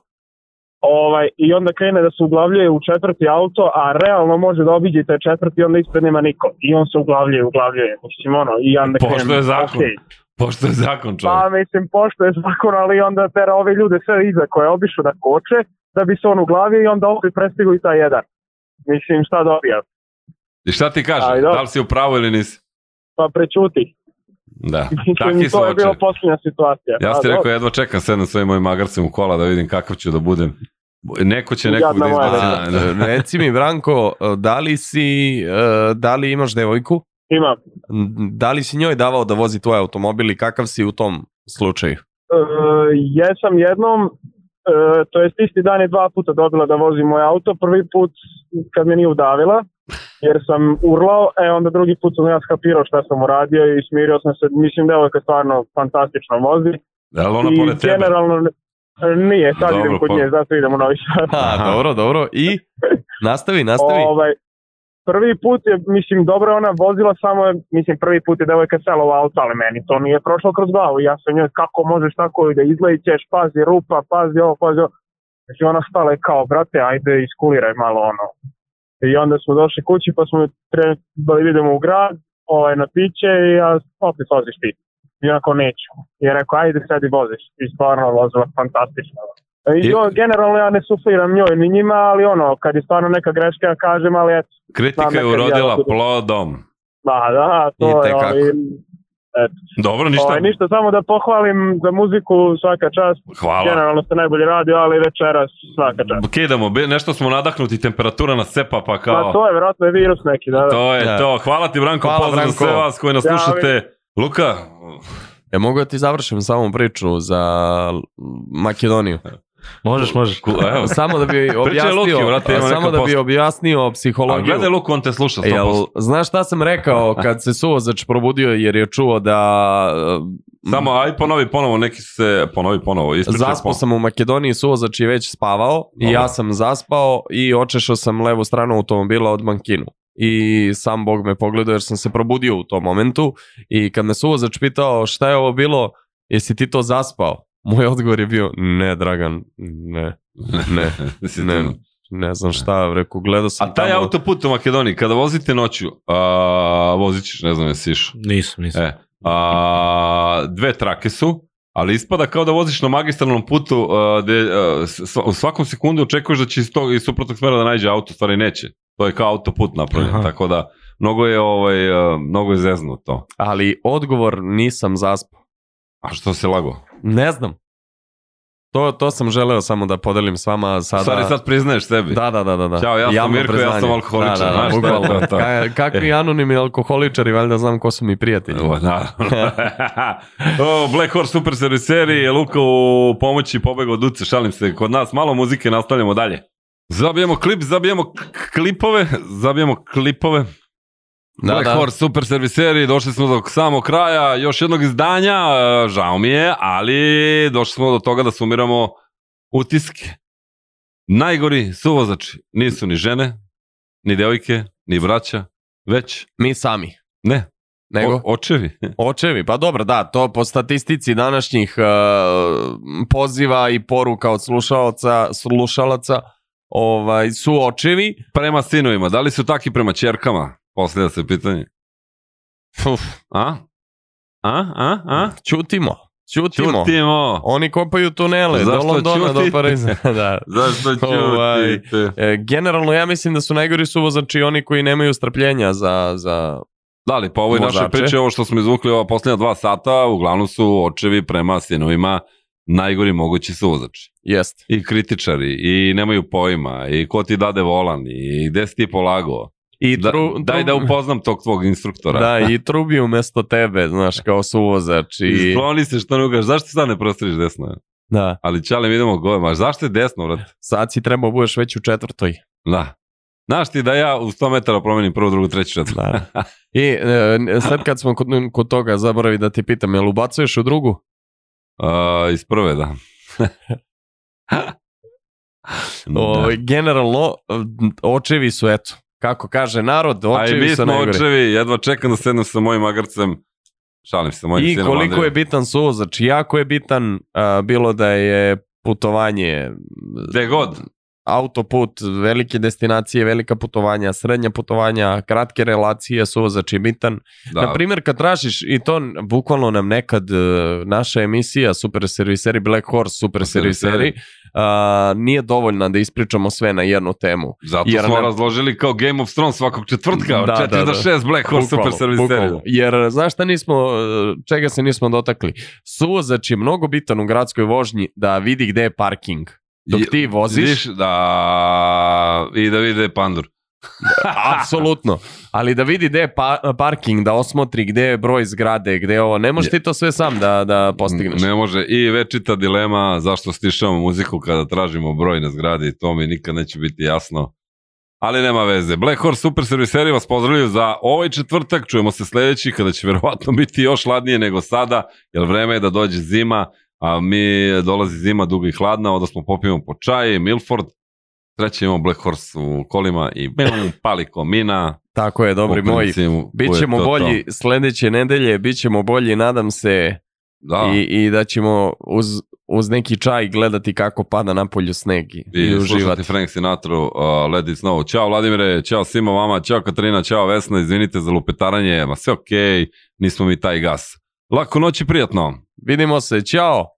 [SPEAKER 12] ovaj, i onda krene da se uglavljuje u četvrti auto, a realno može da obiđe taj četvrti, onda ispred nema niko. I on se uglavljuje, uglavljuje, mislim ono, i onda
[SPEAKER 6] Pošto je zakon.
[SPEAKER 12] okej.
[SPEAKER 6] Pošto je zakon čovjek.
[SPEAKER 12] Pa mislim, pošto je zakon, ali onda tera ove ljude sve iza koje obišu da koče, da bi se on uglavio i onda opet prestigu i taj jedan. Mislim, šta dobija?
[SPEAKER 6] I šta ti kaže? Da li si u pravu ili nisi?
[SPEAKER 12] pa prećuti.
[SPEAKER 6] Da,
[SPEAKER 12] Mislim,
[SPEAKER 6] takvi su
[SPEAKER 12] to je
[SPEAKER 6] očevi.
[SPEAKER 12] bila posljednja situacija.
[SPEAKER 6] Ja
[SPEAKER 12] A,
[SPEAKER 6] sam ti
[SPEAKER 12] dobro.
[SPEAKER 6] rekao, jedva čekam sedam s ovim mojim magarcem u kola da vidim kakav ću da budem. Neko će nekog Pa da izbaci.
[SPEAKER 7] A, Reci mi, Branko, da li si, e, da li imaš devojku?
[SPEAKER 12] Imam.
[SPEAKER 7] Da li si njoj davao da vozi tvoj automobil i kakav si u tom slučaju?
[SPEAKER 12] E, jesam jednom, e, to jest isti dan je dva puta dobila da vozi moj auto. Prvi put kad me nije udavila, jer sam urlao, e onda drugi put sam ja skapirao šta sam uradio i smirio sam se. Mislim, devojka stvarno fantastično vozi.
[SPEAKER 6] Je li ona
[SPEAKER 12] I
[SPEAKER 6] pored tebe?
[SPEAKER 12] generalno, e, nije, sad
[SPEAKER 7] Dobro,
[SPEAKER 12] idem kod
[SPEAKER 7] pa-
[SPEAKER 12] nje, zato idem u novi Sad.
[SPEAKER 6] Pa,
[SPEAKER 7] A, dobro, dobro. I nastavi, nastavi.
[SPEAKER 12] Ovaj, prvi put je, mislim, dobro je ona vozila, samo je, mislim, prvi put je devojka sela u auto, ali meni to nije prošlo kroz glavu. Ja sam njoj, kako možeš tako da izlećeš, pazi rupa, pazi ovo, pazi ovo. Znači ona stala je kao, brate, ajde iskuliraj malo ono. I onda smo došli kući pa smo trebali da idemo u grad, ovaj, na piće i ja opet voziš ti. I onako neću. I je rekao, ajde sad i voziš. I stvarno vozila fantastično. E, I, jo, generalno ja ne sufliram njoj ni njima, ali ono, kad je stvarno neka greška, ja kažem, ali eto. znam
[SPEAKER 6] Kritika je
[SPEAKER 12] nekad ja
[SPEAKER 6] urodila
[SPEAKER 12] budem-
[SPEAKER 6] plodom.
[SPEAKER 12] Da, da, to je,
[SPEAKER 6] Itekako.
[SPEAKER 12] ali, eto.
[SPEAKER 6] Dobro, ništa.
[SPEAKER 12] Ovaj, ništa, samo da pohvalim za muziku svaka čast.
[SPEAKER 6] Hvala.
[SPEAKER 12] Generalno ste najbolje radio, ali večeras svaka čast.
[SPEAKER 6] Kidamo, be- nešto smo nadahnuti, temperatura nas sepa, pa kao...
[SPEAKER 12] Pa to je vjerojatno je virus neki, da, da.
[SPEAKER 6] To je to. Hvala ti, Branko,
[SPEAKER 7] Hvala,
[SPEAKER 6] pozdrav
[SPEAKER 7] Branko.
[SPEAKER 6] za sve vas koji nas
[SPEAKER 12] Ja,
[SPEAKER 6] slušate. Luka,
[SPEAKER 7] E, mogu da ti završim samo priču za l- Makedoniju?
[SPEAKER 11] Možeš, možeš.
[SPEAKER 6] evo.
[SPEAKER 7] samo da bi
[SPEAKER 6] Pričaj
[SPEAKER 7] objasnio,
[SPEAKER 6] Luki, brate, ima
[SPEAKER 7] samo
[SPEAKER 6] neka
[SPEAKER 7] da bi
[SPEAKER 6] posla.
[SPEAKER 7] objasnio
[SPEAKER 6] a
[SPEAKER 7] psihologiju.
[SPEAKER 6] gledaj Luku, on te sluša 100%.
[SPEAKER 7] E, Jel, znaš šta sam rekao kad se suvozač probudio jer je čuo da... e,
[SPEAKER 6] Samo, aj ponovi ponovo, neki su se ponovi ponovo. ispričaj
[SPEAKER 7] Zaspao
[SPEAKER 6] ponovo.
[SPEAKER 7] sam u Makedoniji, suvozač je već spavao i
[SPEAKER 6] Dobro.
[SPEAKER 7] ja sam zaspao i očešao sam levu stranu automobila od bankinu. I sam Bog me pogledao jer sam se probudio u tom momentu i kad me suvozač pitao šta je ovo bilo, jesi ti to zaspao? Moj odgovor je bio ne Dragan, ne, ne, ne, ne znam šta, rekao, gledao sam
[SPEAKER 6] A taj
[SPEAKER 7] tamo-
[SPEAKER 6] autoput u Makedoniji, kada vozite noću, a, vozit ćeš, ne znam jesi išao.
[SPEAKER 11] Nisam, nisam.
[SPEAKER 6] E, a, dve trake su, ali ispada kao da voziš na magistralnom putu, a, gde, a, s- s- u svakom sekundu očekuješ da će iz, tog, iz suprotnog smera da nađe auto, u stvari neće. To je kao autoput napravljen,
[SPEAKER 7] Aha.
[SPEAKER 6] tako da mnogo je, ovaj, a, mnogo je zezno to.
[SPEAKER 7] Ali odgovor nisam zaspao.
[SPEAKER 6] A što se lago?
[SPEAKER 7] Ne znam. To, to sam želeo samo da podelim s vama a sada.
[SPEAKER 6] Stvari sad priznaješ sebi.
[SPEAKER 7] Pa Da, da, da, da. da.
[SPEAKER 6] Ćao, ja sam
[SPEAKER 7] Javno
[SPEAKER 6] Mirko, ja
[SPEAKER 7] priznanje.
[SPEAKER 6] sam alkoholičar,
[SPEAKER 7] Da, da, da,
[SPEAKER 6] znaš šta je
[SPEAKER 7] bukvalno.
[SPEAKER 6] to, to.
[SPEAKER 7] Ka- kakvi anonimni alkoholičari, valjda znam ko su mi prijatelji.
[SPEAKER 6] o, Black Horse Super Serviceri je Luka u pomoći pobegao od Uce, šalim se. Kod nas malo muzike, nastavljamo dalje. Zabijemo klip, zabijemo k- klipove, zabijemo klipove.
[SPEAKER 7] Da,
[SPEAKER 6] Black
[SPEAKER 7] da.
[SPEAKER 6] Horse Super Serviceri, došli smo do samog kraja još jednog izdanja, e, žao mi je, ali došli smo do toga da sumiramo utiske. Najgori suvozači nisu ni žene, ni devojke, ni braća, već...
[SPEAKER 7] Mi sami.
[SPEAKER 6] Ne.
[SPEAKER 7] Nego?
[SPEAKER 6] O- očevi.
[SPEAKER 7] Očevi, pa dobro, da, to po statistici današnjih e, poziva i poruka od slušalaca, slušalaca ovaj, su očevi.
[SPEAKER 6] Prema sinovima, da li su taki prema čerkama? Poslije se pitanje.
[SPEAKER 7] Uf.
[SPEAKER 6] A? A? A? A?
[SPEAKER 7] Ćutimo. Ćutimo.
[SPEAKER 6] Ćutimo.
[SPEAKER 7] Oni kopaju tunele
[SPEAKER 6] Zašto
[SPEAKER 7] do Londona, do
[SPEAKER 6] ćutite?
[SPEAKER 7] Pariza. da.
[SPEAKER 6] Zašto ćutite? Ovaj.
[SPEAKER 7] e, generalno ja mislim da su najgori suvozači oni koji nemaju strpljenja za, za
[SPEAKER 6] Da li, pa ovoj našoj
[SPEAKER 7] vozače.
[SPEAKER 6] priči, ovo što smo izvukli ova posljednja dva sata, uglavnom su očevi prema sinovima najgori mogući suvozači.
[SPEAKER 7] Jeste.
[SPEAKER 6] I kritičari, i nemaju pojma, i ko ti dade volan, i gde si ti polago.
[SPEAKER 7] I
[SPEAKER 6] da,
[SPEAKER 7] tru-
[SPEAKER 6] daj
[SPEAKER 7] tru-
[SPEAKER 6] da upoznam tog tvog instruktora.
[SPEAKER 7] Da, i trubi umesto tebe, znaš, kao suvozač.
[SPEAKER 6] I...
[SPEAKER 7] I...
[SPEAKER 6] Skloni se što ne ugaš, zašto sad ne prostriš desno?
[SPEAKER 7] Da.
[SPEAKER 6] Ali čale, mi idemo gore, ma zašto je desno, vrat?
[SPEAKER 7] Sad si trebao budeš već u četvrtoj.
[SPEAKER 6] Da. Znaš ti da ja u 100 metara promenim prvu, drugu, treću, četvrtu.
[SPEAKER 7] Da. I e, sad kad smo kod, kod toga, zaboravi da ti pitam, jel ubacuješ u drugu?
[SPEAKER 6] A, iz prve, da.
[SPEAKER 7] O, generalno, Ovaj, očevi su, eto, kako kaže narod,
[SPEAKER 6] A i
[SPEAKER 7] očevi
[SPEAKER 6] mi
[SPEAKER 7] su
[SPEAKER 6] smo
[SPEAKER 7] najgori.
[SPEAKER 6] očevi, jedva čekam da sednem sa mojim agarcem. Šalim se, mojim
[SPEAKER 7] I
[SPEAKER 6] sinom
[SPEAKER 7] koliko
[SPEAKER 6] Andrejem.
[SPEAKER 7] je bitan suvozač, jako je bitan, a, bilo da je putovanje
[SPEAKER 6] Gde god.
[SPEAKER 7] autoput, velike destinacije, velika putovanja, srednja putovanja, kratke relacije su ovo znači bitan.
[SPEAKER 6] Da.
[SPEAKER 7] Na primjer, kad tražiš, i to n- bukvalno nam nekad e, naša emisija Super Serviseri, Black Horse Super Serviseri, a, nije dovoljna da ispričamo sve na jednu temu.
[SPEAKER 6] Zato smo razložili kao Game of Thrones svakog četvrtka, od 4 do 6 Black Horse
[SPEAKER 7] Bukvalno,
[SPEAKER 6] Super Service
[SPEAKER 7] bukvalno.
[SPEAKER 6] Stereo.
[SPEAKER 7] Jer znaš šta nismo, e, čega se nismo dotakli? Suvozač je mnogo bitan u gradskoj vožnji da vidi gde je parking. Dok ti voziš,
[SPEAKER 6] Vidiš da... I da vide pandur.
[SPEAKER 7] apsolutno, ali da vidi gde je pa- parking, da osmotri gde je broj zgrade, gde je ovo, ne možeš ti to sve sam da, da postigneš.
[SPEAKER 6] Ne može. I večita dilema zašto stišamo muziku kada tražimo broj na zgradi, to mi nikad neće biti jasno. Ali nema veze. Black Horse Super Serviseri vas pozdravljaju za ovaj četvrtak. Čujemo se sljedeći kada će verovatno biti još hladnije nego sada, jer vreme je da dođe zima, a mi dolazi zima duga i hladna, onda smo popijemo po čaji, Milford, treći imamo Black Horse u kolima i bum, pali komina.
[SPEAKER 7] Tako je, dobri
[SPEAKER 6] U
[SPEAKER 7] moji.
[SPEAKER 6] principu, to je
[SPEAKER 7] Bićemo
[SPEAKER 6] to, to.
[SPEAKER 7] bolji sljedeće nedelje, bit ćemo bolji, nadam se.
[SPEAKER 6] Da.
[SPEAKER 7] I, I da ćemo uz, uz neki čaj gledati kako pada napolju sneg i,
[SPEAKER 6] i,
[SPEAKER 7] i uživati.
[SPEAKER 6] slušati Frank Sinatra uh, Let It Snow. Ćao Vladimire, ćao svima vama, ćao Katarina, ćao Vesna, izvinite za lupetaranje, ma sve okej, nismo mi taj gas. Lako noć i prijatno.
[SPEAKER 7] Vidimo se, ćao!